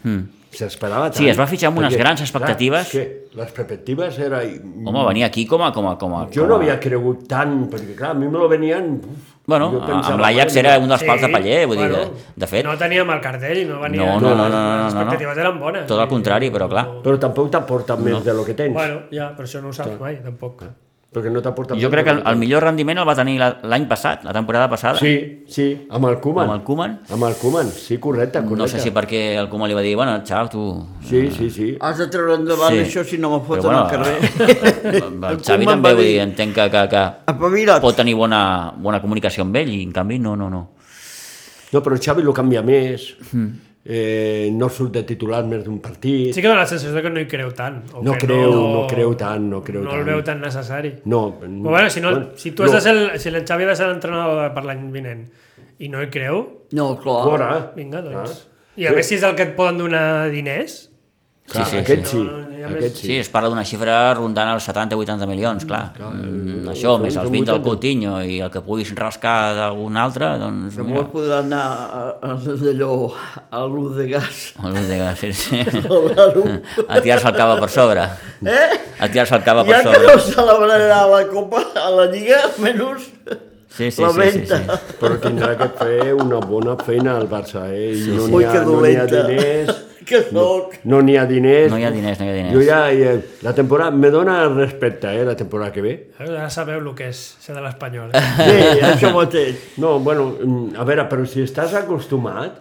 Speaker 3: s'esperava tant.
Speaker 1: Mm. Sí, es va fitxar amb unes grans expectatives.
Speaker 3: Clar, és que les expectatives era... mm,
Speaker 1: home, venir aquí com a... Com a, com a
Speaker 3: Jo
Speaker 1: com
Speaker 3: no
Speaker 1: a-
Speaker 3: havia cregut tant, perquè clar, a mi me lo venien... uf,
Speaker 1: Bueno,
Speaker 3: jo pensava,
Speaker 1: amb l'Ajax era un dels pals de paller, vull dir,
Speaker 4: bueno,
Speaker 1: de, de fet,
Speaker 4: No teníem el cartell i no venia...
Speaker 1: No, no, no, no, no, no,
Speaker 4: Les expectatives
Speaker 1: no.
Speaker 4: eren bones.
Speaker 1: tot
Speaker 4: vull
Speaker 1: al
Speaker 4: dir,
Speaker 1: contrari, però clar.
Speaker 3: Però tampoc t'aporta més de lo que tens.
Speaker 4: Bueno, ja, però això no ho saps mai, tampoc.
Speaker 3: Perquè no t'aporta
Speaker 1: Jo
Speaker 3: més
Speaker 1: crec
Speaker 3: de
Speaker 1: que
Speaker 3: lo
Speaker 1: el, el millor rendiment el va tenir la- l'any passat, la temporada passada,
Speaker 3: Sí, sí, amb el Koeman.
Speaker 1: amb el Koeman.
Speaker 3: Amb el Koeman, sí, correcte, correcte.
Speaker 1: No sé si perquè el Koeman li va dir, bueno, xau, tu...
Speaker 3: Sí, sí, sí.
Speaker 2: Has de treure endavant
Speaker 1: Sí.
Speaker 2: sí. això si no me foten
Speaker 1: Però,
Speaker 2: bueno, al carrer.
Speaker 1: El Xavi també,
Speaker 2: Koeman va
Speaker 1: vull
Speaker 2: dir-
Speaker 1: dir, entenc que, que, que,
Speaker 2: Apavila't.
Speaker 1: pot tenir bona, bona comunicació amb ell i en canvi no, no, no.
Speaker 3: No, però Xavi lo canvia més,
Speaker 1: Hmm.
Speaker 3: eh, no surt de titular més d'un partit.
Speaker 4: Sí que dona la sensació que no hi creu tant. O
Speaker 3: No
Speaker 4: que
Speaker 3: creu, no creu tant, no creu
Speaker 4: no
Speaker 3: tant.
Speaker 4: el veu tan necessari.
Speaker 3: No,
Speaker 4: Però bueno, si, no, si tu has
Speaker 3: Mm. no,
Speaker 4: de ser el, si el Xavi ha de ser l'entrenador per l'any vinent i no hi creu,
Speaker 2: No, clar.
Speaker 3: Fora.
Speaker 4: vinga, doncs.
Speaker 3: Ah.
Speaker 4: I a més, si és el que et poden donar diners,
Speaker 3: Clar,
Speaker 1: sí,
Speaker 3: aquest
Speaker 4: sí.
Speaker 3: sí.
Speaker 4: No, no, hi ha més-
Speaker 3: Aquest
Speaker 1: Sí.
Speaker 3: sí.
Speaker 1: sí, es parla d'una xifra rondant els 70-80 milions, clar. Mm, això,
Speaker 3: són
Speaker 1: més els
Speaker 3: com
Speaker 1: 20 del
Speaker 3: 80.
Speaker 1: Coutinho i el que puguis rascar d'algun altre, doncs...
Speaker 2: Que
Speaker 1: mira,
Speaker 2: molt podrà anar a, a, d'allò, a l'ús de gas.
Speaker 1: molt bé, gràcies.
Speaker 2: Claro.
Speaker 1: A tirar-se el cava per sobre.
Speaker 2: Eh?
Speaker 1: A tirar-se el cava per
Speaker 2: Ja que
Speaker 1: sobre.
Speaker 2: no celebrarà la Copa a la Lliga, menys
Speaker 1: Sí, sí,
Speaker 2: la
Speaker 1: sí, sí,
Speaker 2: venta.
Speaker 1: sí.
Speaker 3: Però tindrà que fer una bona feina al Barça, eh? I no
Speaker 2: Ui,
Speaker 3: n'hi ha,
Speaker 2: que
Speaker 3: no n'hi ha
Speaker 2: dolenta.
Speaker 3: diners,
Speaker 2: Que sóc.
Speaker 3: no n'hi ha diners.
Speaker 1: No hi ha diners, no hi ha diners.
Speaker 3: Jo ja, ja, la temporada, me dona respecte, eh, la temporada que ve.
Speaker 4: Ara sabeu el que és ser de l'Espanyol.
Speaker 2: Sí, això mateix.
Speaker 3: No, bueno, mm, a veure, però si estàs acostumat,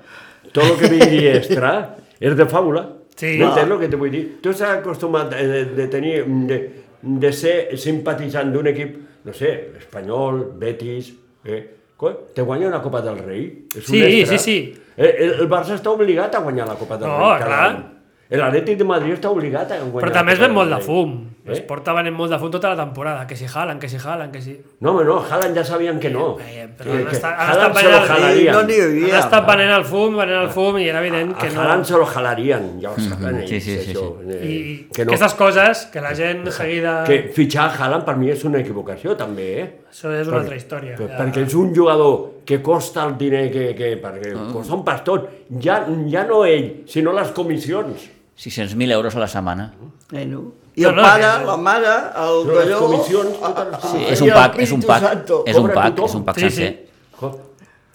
Speaker 3: tot el que vingui extra és de fàbula.
Speaker 4: Sí. Ah.
Speaker 3: No entens el que te vull dir? Tu estàs acostumat eh, de, de tenir, mm, de, de ser simpatitzant d'un equip, no sé, espanyol, Betis, eh? Coi, Te guanya una Copa del Rei? És un
Speaker 4: Sí,
Speaker 3: extra.
Speaker 4: sí, sí.
Speaker 3: Eh, El, el Barça està obligat a guanyar la Copa del
Speaker 4: No,
Speaker 3: Rei. cada
Speaker 4: clar.
Speaker 3: any. L'Atlètic de Madrid està obligat a guanyar
Speaker 4: Però
Speaker 3: la
Speaker 4: també es
Speaker 3: Copa
Speaker 4: ven
Speaker 3: del
Speaker 4: molt de
Speaker 3: Rei.
Speaker 4: fum.
Speaker 3: Eh?
Speaker 4: Es porta venent molt de fum tota la temporada. Que si jalen, que si jalen, que si...
Speaker 3: No, home, no, Haaland ja sabien que no.
Speaker 4: Eh, però
Speaker 3: Que-
Speaker 4: han
Speaker 3: que
Speaker 4: estat- han
Speaker 3: Haaland
Speaker 4: estat
Speaker 3: se lo
Speaker 4: veient el-
Speaker 3: jalarien.
Speaker 2: No n'hi
Speaker 4: Han
Speaker 2: havia.
Speaker 4: estat venent el fum, venent el fum, i era evident
Speaker 3: que
Speaker 4: que
Speaker 3: a
Speaker 4: no...
Speaker 3: Haaland se lo jalarían, ja ho saben
Speaker 1: Mhm,
Speaker 3: ells,
Speaker 1: sí, sí, sí,
Speaker 3: això.
Speaker 1: sí.
Speaker 3: eh,
Speaker 4: I i
Speaker 3: que, no,
Speaker 4: aquestes coses que la gent seguida...
Speaker 3: que fitxar Haaland per mi és una equivocació, també, eh?
Speaker 4: Això és una altra història.
Speaker 3: Per,
Speaker 4: Ja.
Speaker 3: perquè és un jugador que costa el diner que... que pues perquè
Speaker 1: Ah.
Speaker 3: costa un pastot. Ja, ja no ell, sinó les comissions.
Speaker 1: 600.000 euros a la setmana.
Speaker 2: Bueno. I
Speaker 4: No,
Speaker 2: el
Speaker 4: no,
Speaker 2: pare,
Speaker 4: que-
Speaker 2: la mare, el
Speaker 3: No, les
Speaker 2: d'allò...
Speaker 3: comissions, totes les
Speaker 1: eh, Sí,
Speaker 3: comissions.
Speaker 1: és
Speaker 2: i
Speaker 1: un
Speaker 2: el
Speaker 1: pack, és un
Speaker 2: Espíritu
Speaker 1: pack,
Speaker 2: Santo,
Speaker 1: és un
Speaker 3: cobra
Speaker 1: pack,
Speaker 3: tothom.
Speaker 1: és un pack
Speaker 4: Sí,
Speaker 1: sencer.
Speaker 4: sí.
Speaker 3: Jo,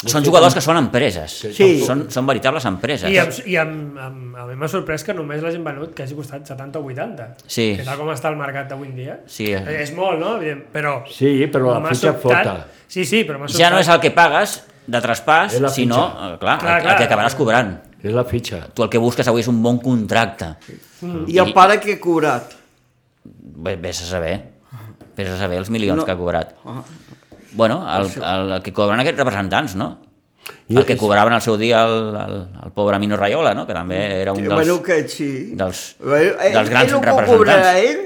Speaker 1: Són jugadors que són empreses.
Speaker 2: Sí.
Speaker 1: Són, són veritables empreses.
Speaker 4: I, amb, i amb, amb, a mi m'ha sorprès que només l'hagin venut que hagi costat 70 o 80.
Speaker 1: Sí.
Speaker 4: Que tal com està el mercat d'avui en dia.
Speaker 1: Sí.
Speaker 4: És, és molt, no? Evident, Però...
Speaker 3: Sí, però la
Speaker 4: m'ha
Speaker 3: fitxa
Speaker 4: sobtat-
Speaker 3: forta.
Speaker 4: Sí, sí, però m'ha
Speaker 1: Ja
Speaker 4: sobtat.
Speaker 1: no és el que pagues de traspàs,
Speaker 3: És la
Speaker 1: sinó,
Speaker 3: fitxa.
Speaker 1: eh, clar,
Speaker 4: Clar,
Speaker 1: clar, clar,
Speaker 4: clar.
Speaker 1: el que acabaràs cobrant.
Speaker 3: És la fitxa.
Speaker 1: Tu el que busques avui és un bon contracte. Mm.
Speaker 2: I el pare que ha cobrat.
Speaker 1: Bé, Vés a saber. Vés a saber els milions no. que ha cobrat. Bueno, el, el, el que cobren aquests representants, no? El que cobraven al seu dia el, el, el pobre Mino Raiola, no? que també era un
Speaker 2: Dels,
Speaker 1: dels...
Speaker 2: bueno, que sí.
Speaker 1: dels-
Speaker 2: bueno, ell-
Speaker 1: dels grans
Speaker 2: ell ho
Speaker 1: representants.
Speaker 2: cobrarà ell,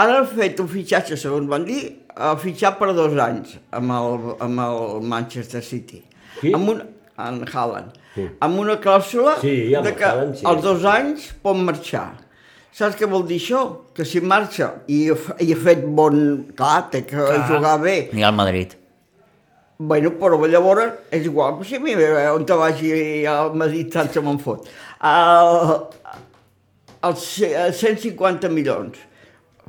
Speaker 2: ara ha fet un fitxatge, segons van dir, ha fitxat per dos anys amb el, amb el Manchester City.
Speaker 3: Qui?
Speaker 2: Amb un, en Haaland. Amb una clàusula
Speaker 3: Sí, amb
Speaker 2: de
Speaker 3: el
Speaker 2: que
Speaker 3: Haaland, sí.
Speaker 2: als dos anys pot marxar. Saps què vol dir això? Que si marxa i, ha f- i ha fet bon... Clar, té que jugar bé.
Speaker 1: Ni al Madrid.
Speaker 2: Bueno, però llavors és igual que si a mi eh, on te vagi al Madrid tant se me'n fot. El, els ce- eh, 150 milions.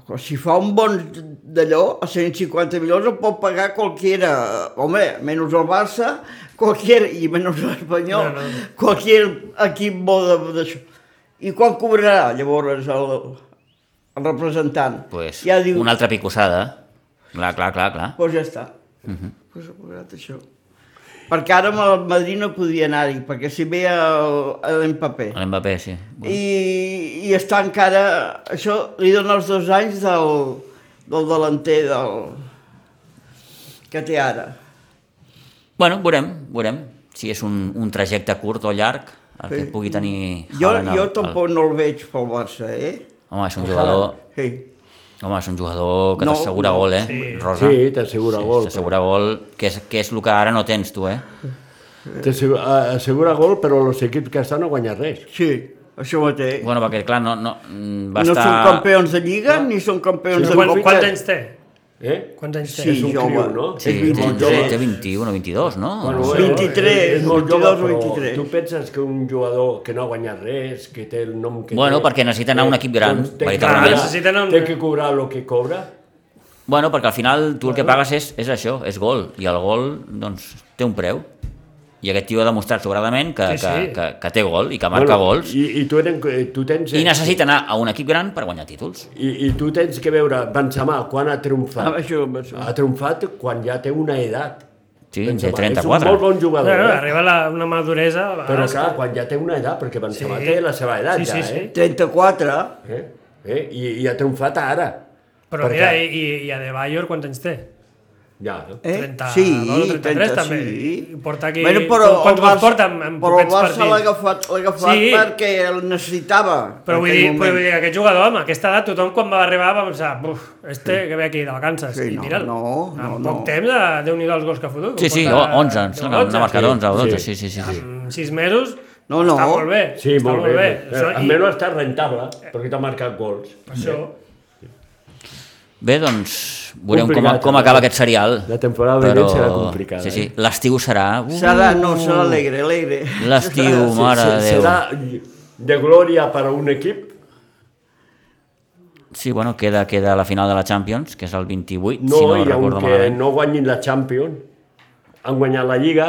Speaker 2: Però Si fa un bon d'allò, a 150 milions el pot pagar qualquiera, home, menys el Barça, qualquier, i menys l'Espanyol,
Speaker 4: No,
Speaker 2: no,
Speaker 4: no.
Speaker 2: no. qualsevol equip bo de- d'això. I quan cobrarà llavors el, el representant?
Speaker 1: Pues,
Speaker 2: ja diu,
Speaker 1: Una altra picossada. Clar, clar, clar, clar.
Speaker 2: Pues ja està. Uh -huh. Pues he cobrat això. Perquè ara amb el Madrid no podia anar-hi, perquè si ve el- l'Empapé.
Speaker 1: L'Mbappé, sí.
Speaker 2: I, I està encara... Això li dona els dos anys del, del delanter del, que té ara.
Speaker 1: Bueno, veurem, veurem si és un, un trajecte curt o llarg el que
Speaker 2: Sí.
Speaker 1: pugui tenir
Speaker 2: Jo,
Speaker 1: Haaland al-
Speaker 2: jo
Speaker 1: al-
Speaker 2: tampoc no el veig pel Barça, eh?
Speaker 1: Home, és un jugador,
Speaker 2: Sí.
Speaker 1: home, és un jugador que
Speaker 2: No,
Speaker 1: t'assegura
Speaker 2: no,
Speaker 1: gol, eh, Rosa?
Speaker 3: Sí, t'assegura gol, però-
Speaker 1: T'assegura gol, que és, que és el que ara no tens tu, eh?
Speaker 3: T'assegura assegura gol, però els equips que estan no guanyen res.
Speaker 2: Sí, això mateix.
Speaker 1: Bueno, perquè, clar, no, no, mm, va
Speaker 2: no
Speaker 1: estar...
Speaker 2: són campions de Lliga, ni són campions
Speaker 4: Però
Speaker 2: de
Speaker 4: quan,
Speaker 2: Copa.
Speaker 4: quants anys té?
Speaker 3: Eh?
Speaker 4: Quants anys té?
Speaker 2: Sí,
Speaker 3: és un
Speaker 2: jove.
Speaker 3: criu, no?
Speaker 1: Sí,
Speaker 3: és
Speaker 1: té,
Speaker 3: molt
Speaker 1: té,
Speaker 3: jove.
Speaker 1: té 21 o 22, no?
Speaker 3: Bueno,
Speaker 1: Ah, No sé.
Speaker 3: eh,
Speaker 2: 23,
Speaker 3: és molt jove,
Speaker 2: 22,
Speaker 3: però
Speaker 2: 23.
Speaker 3: Tu penses que un jugador que no ha guanyat res, que té el nom que
Speaker 1: Bueno,
Speaker 3: té...
Speaker 1: perquè necessita anar a un
Speaker 3: eh,
Speaker 1: equip gran,
Speaker 3: doncs té que
Speaker 1: veritablement.
Speaker 3: cobrar-
Speaker 4: Necessiten un-
Speaker 3: Té que cobrar el que cobra.
Speaker 1: bueno, perquè al final tu el que pagues és, és això, és gol, i el gol, doncs, té un preu. I aquest tio ha demostrat sobradament que,
Speaker 4: Sí,
Speaker 1: que,
Speaker 4: sí.
Speaker 1: que, que té gol i que marca
Speaker 3: Bueno,
Speaker 1: gols.
Speaker 3: I, i tu, eren, eh, tu tens...
Speaker 1: I necessita anar a un equip gran per guanyar títols.
Speaker 3: I, I tu tens que veure Benzema quan ha
Speaker 2: Ah,
Speaker 3: triomfat.
Speaker 2: això, això.
Speaker 3: Ha triomfat quan ja té una edat.
Speaker 1: Sí,
Speaker 3: Benzema.
Speaker 1: de
Speaker 3: És un
Speaker 1: 34.
Speaker 3: molt bon
Speaker 4: No,
Speaker 3: jugador.
Speaker 4: no,
Speaker 3: eh?
Speaker 4: arriba la, una maduresa... a
Speaker 3: Però
Speaker 4: vegades
Speaker 3: clar, quan ja té una edat, perquè Benzema
Speaker 4: Sí.
Speaker 3: té la seva edat
Speaker 4: Sí, sí,
Speaker 3: ja,
Speaker 4: sí.
Speaker 3: eh?
Speaker 2: 34.
Speaker 3: eh? eh? I, I ha triomfat ara.
Speaker 4: Però
Speaker 3: Per
Speaker 4: mira,
Speaker 3: què?
Speaker 4: i, i- i a De Bayor quants anys té?
Speaker 3: Ja, no?
Speaker 2: Eh?
Speaker 4: 32,
Speaker 2: sí,
Speaker 4: 33 també.
Speaker 2: sí.
Speaker 4: Porta aquí-
Speaker 2: Bueno, però
Speaker 4: quants
Speaker 2: el
Speaker 4: gols
Speaker 2: Barça-
Speaker 4: porta en-
Speaker 2: però
Speaker 4: en
Speaker 2: el
Speaker 4: poquets
Speaker 2: Barça
Speaker 4: partits?
Speaker 2: l'ha agafat, l'ha agafat
Speaker 4: Sí.
Speaker 2: sí. perquè el necessitava.
Speaker 4: Però
Speaker 2: en
Speaker 4: vull,
Speaker 2: aquell
Speaker 4: dir, però
Speaker 2: moment.
Speaker 4: vull dir, aquest jugador, home, a aquesta edat, tothom quan va arribar va pensar, buf, este que ve aquí de vacances,
Speaker 2: Sí,
Speaker 4: i
Speaker 2: no,
Speaker 4: mira'l.
Speaker 2: no,
Speaker 4: en
Speaker 2: no,
Speaker 4: poc
Speaker 2: no.
Speaker 4: temps, eh, déu nhi els gols que ha fotut.
Speaker 1: Sí, sí,
Speaker 4: Porta
Speaker 1: 11, em sembla que
Speaker 4: 11.
Speaker 1: n'ha marcat
Speaker 3: sí. Ah.
Speaker 1: 11 o 12,
Speaker 3: Sí.
Speaker 1: sí, sí, sí. sí.
Speaker 4: En 6 Mm, mesos
Speaker 2: No, no.
Speaker 4: Està molt bé.
Speaker 3: Sí,
Speaker 4: està
Speaker 3: molt, bé. Eh, bé.
Speaker 4: Això, i,
Speaker 3: Almenys està rentable, perquè t'ha marcat gols.
Speaker 4: això,
Speaker 1: Bé, doncs veurem com,
Speaker 3: Complicat,
Speaker 1: com
Speaker 3: eh?
Speaker 1: acaba aquest serial.
Speaker 3: La temporada
Speaker 1: però-
Speaker 3: vinent serà complicada,
Speaker 1: Sí, sí.
Speaker 3: eh?
Speaker 1: L'estiu serà... Uh,
Speaker 2: Serà, no, serà alegre, alegre.
Speaker 1: L'estiu, mare
Speaker 3: Se-
Speaker 1: de
Speaker 3: se-
Speaker 1: Déu.
Speaker 3: Serà de glòria per a un equip?
Speaker 1: Sí, bueno, queda, queda la final de la Champions, que és el 28,
Speaker 3: No,
Speaker 1: si no
Speaker 3: i
Speaker 1: recordo
Speaker 3: aunque
Speaker 1: malament.
Speaker 3: no guanyin la Champions, han guanyat la Lliga,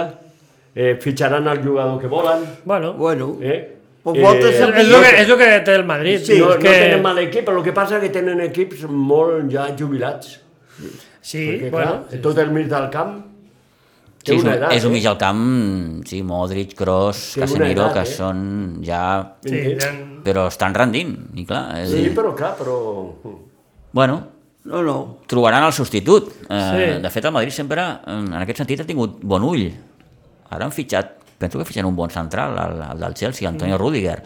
Speaker 3: eh, fitxaran el jugador que volen,
Speaker 4: bueno,
Speaker 2: Bueno, eh,
Speaker 3: eh?
Speaker 2: Pues voltes
Speaker 4: és,
Speaker 2: el
Speaker 4: és, lo que, és lo que té el Madrid.
Speaker 3: Sí, no,
Speaker 4: és
Speaker 3: no
Speaker 4: que...
Speaker 3: tenen mal equip, però el que passa és que tenen equips molt ja jubilats.
Speaker 4: Sí,
Speaker 3: Perquè, clar,
Speaker 4: bueno, sí,
Speaker 3: tot el mig del camp té
Speaker 1: Sí, és, un,
Speaker 3: una edat.
Speaker 1: és un mig
Speaker 3: eh?
Speaker 1: al camp, sí, Modric, Kroos,
Speaker 3: Té una
Speaker 1: Casemiro,
Speaker 3: edat,
Speaker 1: que
Speaker 3: eh?
Speaker 1: són ja...
Speaker 4: sí,
Speaker 3: Vinga.
Speaker 4: tenen-
Speaker 1: Però estan rendint, i clar... És, a
Speaker 3: Sí,
Speaker 1: dir,
Speaker 3: però clar, però...
Speaker 1: Bueno,
Speaker 2: no, no.
Speaker 1: trobaran el substitut. Eh,
Speaker 4: Sí.
Speaker 1: De fet, el Madrid sempre, en en aquest sentit, ha tingut bon ull. Ara han fitxat, penso que fitxen un bon central, el, el del Chelsea, Antonio Rüdiger.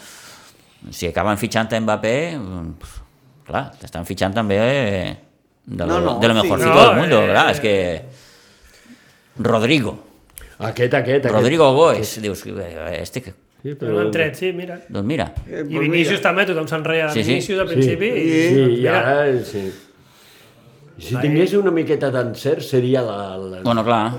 Speaker 1: Si acaben fitxant a Mbappé, mm, pf, clar, t'estan fitxant també eh, de lo,
Speaker 2: No, no,
Speaker 1: de lo
Speaker 2: sí.
Speaker 1: mejorcito
Speaker 4: No,
Speaker 1: del mundo,
Speaker 4: eh,
Speaker 1: clar, és que... Rodrigo,
Speaker 3: Aquest, aquest, aquest.
Speaker 1: Rodrigo Goes, dius, eh, este que...
Speaker 3: Sí,
Speaker 4: però... L'han tret, sí, mira.
Speaker 1: Doncs mira,
Speaker 2: Eh,
Speaker 4: I
Speaker 2: pues
Speaker 4: Vinícius
Speaker 2: mira.
Speaker 4: també, tothom s'enreia de
Speaker 1: Sí,
Speaker 4: sí,
Speaker 1: sí.
Speaker 4: Vinícius al principi.
Speaker 3: Sí,
Speaker 4: i-
Speaker 3: sí, i
Speaker 4: mira,
Speaker 3: ara, sí. Si tingués una miqueta d'encert, seria la... la...
Speaker 1: bueno, clar,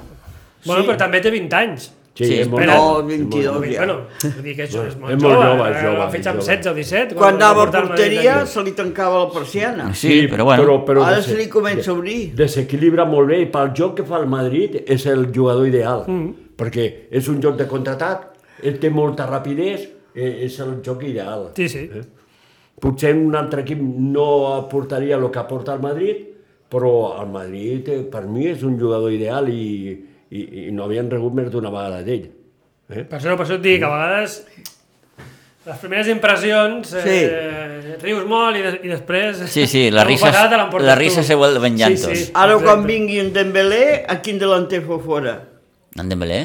Speaker 4: Bueno, però també té 20 anys.
Speaker 1: sí,
Speaker 3: és molt
Speaker 4: espera.
Speaker 3: jove,
Speaker 2: No,
Speaker 3: és molt
Speaker 2: 22.
Speaker 3: jove.
Speaker 4: Vull dir,
Speaker 2: Ja.
Speaker 4: Bueno, vull dir que això és molt,
Speaker 3: és molt jove, és
Speaker 4: eh,
Speaker 3: jove,
Speaker 4: Va fitxar amb
Speaker 3: és jove.
Speaker 4: 16 o 17.
Speaker 2: Quan anava a
Speaker 4: portar el Madrid
Speaker 2: porteria
Speaker 4: aquí.
Speaker 2: se li tancava la persiana.
Speaker 1: sí, però bueno,
Speaker 3: Però, però
Speaker 2: Ara
Speaker 3: des-
Speaker 2: se li comença a obrir.
Speaker 3: Desequilibra molt bé i pel joc que fa el Madrid és el jugador ideal, mm. perquè és un joc de contraatac, ell té molta rapidesa, eh, és el joc ideal.
Speaker 4: Sí, sí.
Speaker 3: Eh? Potser un altre equip no aportaria el que aporta el Madrid, però el Madrid eh, per mi és un jugador ideal i, i, i no havien rebut més d'una vegada d'ell. Eh?
Speaker 4: Per això, per això et dic, a vegades les primeres impressions eh, rius molt i, de, i després...
Speaker 1: Sí, sí, la risa-
Speaker 4: bufetada te l'emportes
Speaker 1: la risa
Speaker 4: tu.
Speaker 1: se vuelve en llantos.
Speaker 2: Ara quan
Speaker 4: exacte.
Speaker 2: vingui en Dembélé, a quin delanter fa fora?
Speaker 1: en Dembélé,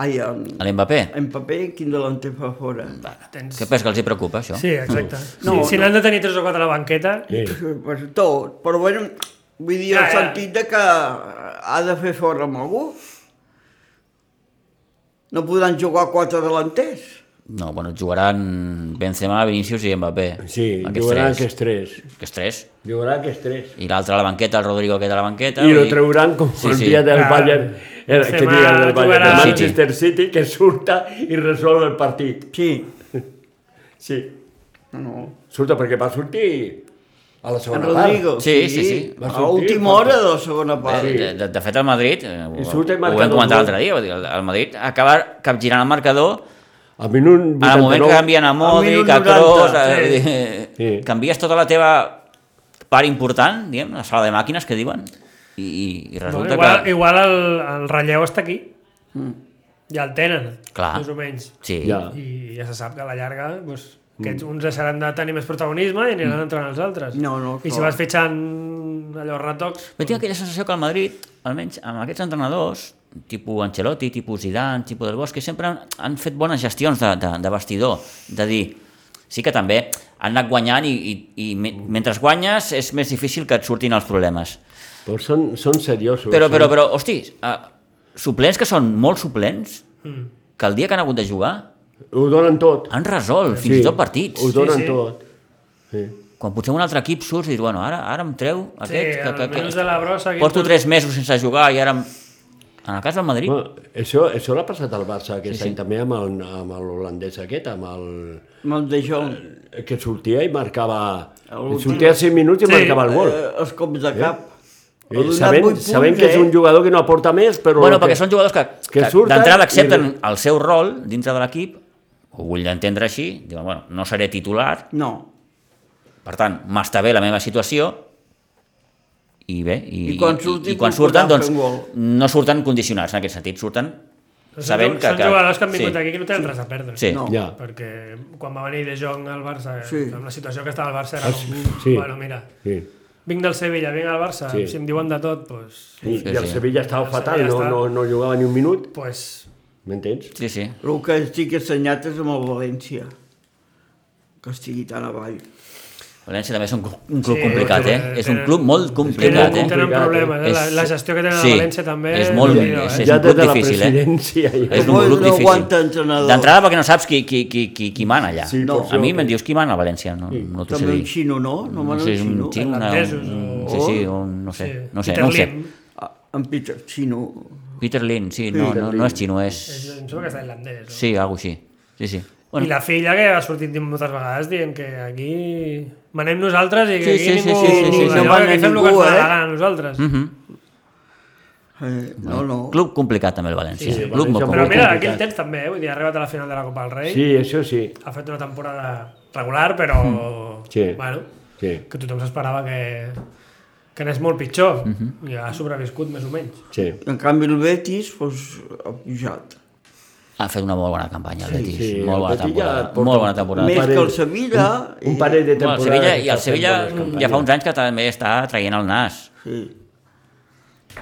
Speaker 2: Ai, en,
Speaker 1: a l'Mbappé,
Speaker 2: en paper, quin delanter fa fora?
Speaker 4: Tens...
Speaker 1: què pes que els hi preocupa, això?
Speaker 4: Sí, exacte.
Speaker 2: No,
Speaker 4: No, si
Speaker 2: no.
Speaker 4: n'han de tenir 3 o 4 a la banqueta...
Speaker 3: Sí.
Speaker 2: Pues tot, però bueno, vull dir, el
Speaker 4: Ja, ja.
Speaker 2: sentit de que ha de fer fora amb algú. No podran jugar quatre delanters.
Speaker 1: No, bueno, jugaran Benzema, Vinícius i Mbappé.
Speaker 3: Sí,
Speaker 1: aquests
Speaker 3: jugaran
Speaker 1: tres.
Speaker 3: aquests tres.
Speaker 1: Aquests tres.
Speaker 3: Jugaran aquests tres.
Speaker 1: I l'altre a la banqueta, el Rodrigo aquest a la banqueta.
Speaker 3: I
Speaker 1: vull
Speaker 3: lo
Speaker 1: dir-
Speaker 3: trauran com
Speaker 1: Sí,
Speaker 3: sí, el
Speaker 1: sí.
Speaker 3: dia del
Speaker 4: Clar.
Speaker 3: Bayern, el, que
Speaker 4: Benzema
Speaker 3: dia del Bayern,
Speaker 4: jugarà
Speaker 3: del
Speaker 1: al
Speaker 3: Manchester City, que surta i resol el partit.
Speaker 2: Sí.
Speaker 3: Sí,
Speaker 2: No, no.
Speaker 3: surta perquè va sortir a la
Speaker 2: En
Speaker 3: segona part.
Speaker 2: Rodrigo.
Speaker 1: Sí, sí, sí.
Speaker 2: A
Speaker 3: Va sortir,
Speaker 2: última
Speaker 3: va-
Speaker 2: hora de la segona part.
Speaker 1: Eh, De, de, de fet, el Madrid, eh, ho,
Speaker 3: I surt i
Speaker 1: ho
Speaker 3: marca
Speaker 1: vam
Speaker 3: dos
Speaker 1: comentar
Speaker 3: gols.
Speaker 1: l'altre dia, vull dir, el, el Madrid acaba capgirant el marcador
Speaker 3: Al minut
Speaker 1: en el moment que
Speaker 3: 89.
Speaker 1: canvien a Modric,
Speaker 2: minut
Speaker 1: a
Speaker 2: 90,
Speaker 1: Kroos...
Speaker 2: sí.
Speaker 1: Eh, sí.
Speaker 3: Sí.
Speaker 1: Canvies tota la teva part important, diguem, la sala de màquines que diuen, i, i, i
Speaker 4: Bueno,
Speaker 1: resulta
Speaker 4: igual
Speaker 1: que...
Speaker 4: igual el, el relleu està aquí.
Speaker 2: Mm.
Speaker 4: Ja el tenen,
Speaker 1: Clar.
Speaker 4: més o menys.
Speaker 1: Sí,
Speaker 3: Ja.
Speaker 4: I ja se sap que a la llarga doncs,
Speaker 2: Mm.
Speaker 4: aquests uns deixaran de tenir més protagonisme i
Speaker 1: Mm.
Speaker 4: aniran entrant els altres.
Speaker 2: No, no,
Speaker 4: I si
Speaker 2: clar.
Speaker 4: vas fitxant allò retocs...
Speaker 1: Però tinc aquella sensació que al Madrid, almenys amb aquests entrenadors, tipus Ancelotti, tipus Zidane, tipus del Bosque, sempre han, han fet bones gestions de, de, de vestidor, de dir, sí que també han anat guanyant i, i, i me- mentre guanyes és més difícil que et surtin els problemes.
Speaker 3: Però són, són seriosos.
Speaker 1: Però,
Speaker 3: són-
Speaker 1: però, però, hosti, uh, suplents que són molt suplents, que el dia que han hagut de jugar
Speaker 3: Ho donen tot.
Speaker 1: han resolt fins i tot partits.
Speaker 3: Ho donen
Speaker 4: Sí, sí.
Speaker 3: tot. Sí.
Speaker 1: Quan potser un altre equip surts i dius, bueno, ara, ara em treu aquest,
Speaker 4: Sí,
Speaker 1: que, que,
Speaker 4: almenys de la brossa aquest
Speaker 1: porto
Speaker 4: tot-
Speaker 1: tres mesos sense jugar i ara... Em... En el cas del Madrid,
Speaker 3: Bueno, això, això l'ha passat al Barça aquest sí, sí. any també amb el- amb l'holandès aquest, amb el...
Speaker 2: Amb el de Jong.
Speaker 1: Eh,
Speaker 3: que sortia i marcava...
Speaker 2: Algun
Speaker 3: Sortia 5 minuts i
Speaker 4: Sí.
Speaker 3: marcava el gol.
Speaker 2: Eh, els cops de cap. Ha
Speaker 3: Eh,
Speaker 2: donat
Speaker 3: sabent,
Speaker 2: vuit
Speaker 3: sabent
Speaker 2: punts,
Speaker 3: que és
Speaker 2: eh?
Speaker 3: un jugador que no aporta més, però...
Speaker 1: Bueno,
Speaker 3: el
Speaker 1: perquè són jugadors que,
Speaker 3: que
Speaker 1: que,
Speaker 3: surten
Speaker 1: d'entrada
Speaker 3: i-
Speaker 1: accepten el seu rol dintre de l'equip, ho vull entendre així, diuen, bueno, no seré titular,
Speaker 2: No.
Speaker 1: per tant, m'està bé la meva situació, i bé, i,
Speaker 2: I quan surti,
Speaker 1: i quan
Speaker 2: puc
Speaker 1: surten,
Speaker 2: posar
Speaker 1: doncs,
Speaker 2: un gol.
Speaker 1: no surten condicionats, en aquest sentit, surten
Speaker 4: Però són
Speaker 1: sabent
Speaker 4: ju-
Speaker 1: que...
Speaker 4: Són jugadors que han vingut
Speaker 1: sí,
Speaker 4: aquí que no tenen res a perdre.
Speaker 1: Sí,
Speaker 2: No.
Speaker 3: Ja.
Speaker 4: Perquè quan va venir De Jong al Barça,
Speaker 2: Sí.
Speaker 4: sí. amb la situació que estava al Barça,
Speaker 1: Ah,
Speaker 4: era com...
Speaker 3: sí.
Speaker 4: Bueno, mira,
Speaker 3: Sí.
Speaker 4: vinc del Sevilla, vinc al Barça,
Speaker 3: Sí.
Speaker 4: si em diuen de tot, doncs...
Speaker 3: I,
Speaker 1: Sí,
Speaker 3: I el
Speaker 1: sí.
Speaker 3: Sevilla estava
Speaker 4: El
Speaker 3: fatal,
Speaker 4: Sevilla
Speaker 3: no,
Speaker 4: està-
Speaker 3: no, no jugava ni un minut,
Speaker 4: Pues,
Speaker 3: m'entens?
Speaker 1: sí, sí.
Speaker 2: El que estic assenyat és amb el València. Que estigui tan avall.
Speaker 1: València també és un, cl- un club
Speaker 4: Sí,
Speaker 1: complicat, eh?
Speaker 4: tenen-
Speaker 1: És un
Speaker 4: tenen-
Speaker 1: club molt complicat,
Speaker 4: tenen,
Speaker 1: eh?
Speaker 4: tenen problemes, eh? la,
Speaker 1: És-
Speaker 4: la gestió que tenen
Speaker 1: sí,
Speaker 4: a València també...
Speaker 1: és molt-
Speaker 4: Déu-n'hi-do,
Speaker 1: és-
Speaker 4: eh?
Speaker 1: és- un club
Speaker 3: la
Speaker 1: difícil, eh?
Speaker 3: presidència... ja-
Speaker 1: És un
Speaker 2: No,
Speaker 1: club
Speaker 2: no
Speaker 1: difícil.
Speaker 2: aguanta entrenador.
Speaker 1: D'entrada perquè no saps qui, qui, qui, qui, qui mana allà.
Speaker 3: Sí,
Speaker 1: no.
Speaker 3: per
Speaker 1: A mi
Speaker 3: això.
Speaker 1: me'n dius qui mana a València, no, no t'ho sé
Speaker 2: També
Speaker 1: dir.
Speaker 2: un xino, no? No
Speaker 1: No
Speaker 2: m'han
Speaker 1: sé,
Speaker 2: un
Speaker 1: és un
Speaker 2: xino.
Speaker 1: xino, una...
Speaker 4: Irlandesos,
Speaker 1: un-
Speaker 4: o-
Speaker 1: Sí, sí, un, no sé,
Speaker 4: Sí,
Speaker 1: no sé,
Speaker 4: Peter
Speaker 1: no ho sé.
Speaker 4: Lim.
Speaker 2: Ah, En Peter, xino.
Speaker 1: Peter Lin, sí, no, no, no és xino, és...
Speaker 4: És, em sembla que és tailandès. No?
Speaker 1: Sí, alguna així. Sí, sí.
Speaker 4: Bueno. I la filla que ha sortit moltes vegades dient que aquí manem nosaltres i
Speaker 1: Sí,
Speaker 4: que
Speaker 1: sí,
Speaker 4: aquí
Speaker 1: sí,
Speaker 4: ningú...
Speaker 1: sí, sí, Mhm. sí, sí. No
Speaker 4: no mana
Speaker 2: mana
Speaker 4: ningú, fem el que ens
Speaker 2: ningú,
Speaker 4: dona la
Speaker 2: eh?
Speaker 4: gana a nosaltres. Mm -hmm.
Speaker 2: Eh, no, no.
Speaker 1: Club complicat també el València.
Speaker 3: Sí, sí,
Speaker 1: club molt
Speaker 4: Però
Speaker 3: València, Molt
Speaker 4: mira,
Speaker 1: complicat.
Speaker 3: complicat.
Speaker 4: aquell temps també, eh? vull dir, ha arribat a la final de la Copa del
Speaker 2: Eh?
Speaker 4: Rei,
Speaker 3: Sí, això sí.
Speaker 4: ha fet una temporada regular, però...
Speaker 3: Mm. Sí.
Speaker 4: Bueno,
Speaker 3: Sí,
Speaker 4: que tothom s'esperava que, que anés molt pitjor. Mm
Speaker 3: Mhm.
Speaker 4: -hmm. I ha sobreviscut més o menys.
Speaker 3: sí.
Speaker 2: En canvi el Betis pues, ha pujat.
Speaker 1: Ha fet una molt bona campanya, el Betis.
Speaker 3: sí,
Speaker 1: molt
Speaker 3: el
Speaker 1: bona
Speaker 3: Betis ja
Speaker 1: temporada.
Speaker 3: porta
Speaker 1: Molt bona
Speaker 3: Un
Speaker 1: temporada.
Speaker 2: Més
Speaker 3: parell-
Speaker 2: que el Sevilla,
Speaker 3: Un, un parell de
Speaker 1: Bueno, el
Speaker 3: temporades...
Speaker 1: Sevilla, I el
Speaker 3: que està fent
Speaker 1: Sevilla
Speaker 3: bones
Speaker 1: ja
Speaker 3: campanyes.
Speaker 1: fa uns anys que també està traient el nas.
Speaker 2: Sí.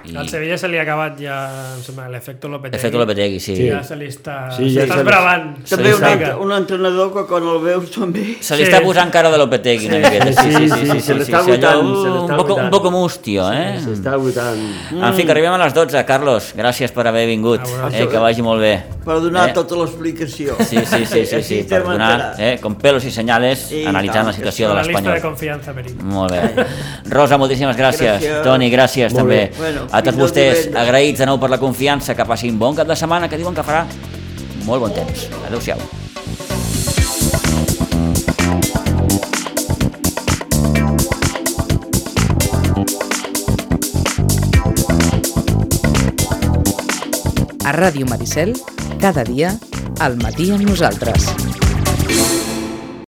Speaker 1: I
Speaker 4: Al Sevilla se li ha acabat ja, em sembla, l'efecte Lopetegui.
Speaker 1: de fet, Lopetegui, sí.
Speaker 3: Sí.
Speaker 4: Ja se li està...
Speaker 3: Sí,
Speaker 4: Sí,
Speaker 3: ja
Speaker 4: ja
Speaker 3: se
Speaker 4: està
Speaker 3: li-
Speaker 4: esbravant.
Speaker 2: També
Speaker 1: Sí,
Speaker 2: un,
Speaker 4: Vinga.
Speaker 2: ent- un entrenador que quan el veus també...
Speaker 1: Se li
Speaker 4: Sí.
Speaker 1: està posant cara de Lopetegui una miqueta. Sí, sí, sí.
Speaker 3: sí,
Speaker 1: sí,
Speaker 3: se
Speaker 1: sí, sí,
Speaker 3: l'està
Speaker 1: sí, allò,
Speaker 3: agotant, se l'està
Speaker 1: un poc- Un
Speaker 3: agotant.
Speaker 1: poc mustio, eh?
Speaker 3: S'està votant...
Speaker 1: En fi, que arribem a les 12, Carlos. Gràcies per haver vingut.
Speaker 4: Ah,
Speaker 1: Eh, que vagi molt bé.
Speaker 2: Per donar
Speaker 1: Eh?
Speaker 2: tota l'explicació.
Speaker 1: Sí, sí, sí, sí,
Speaker 2: Així
Speaker 1: sí, per
Speaker 2: estem
Speaker 1: donar,
Speaker 2: enterats.
Speaker 1: eh, com pelos i senyales,
Speaker 2: I
Speaker 1: analitzant
Speaker 2: tant,
Speaker 1: la
Speaker 2: que
Speaker 1: situació
Speaker 4: A
Speaker 1: de
Speaker 4: la llista de
Speaker 1: l'Espanyol.
Speaker 4: confiança, Peric.
Speaker 1: Molt bé. Rosa, moltíssimes gràcies.
Speaker 2: Gràcies.
Speaker 1: Toni, gràcies
Speaker 3: Molt
Speaker 1: també.
Speaker 3: bé.
Speaker 2: Bueno,
Speaker 1: a
Speaker 2: fins
Speaker 1: tots
Speaker 2: el
Speaker 1: vostès,
Speaker 2: divendres.
Speaker 1: agraïts de nou per la confiança, que passin bon cap de setmana, que diuen que farà molt bon temps. Adéu-siau.
Speaker 5: A Ràdio Maricel, cada dia, al matí amb nosaltres.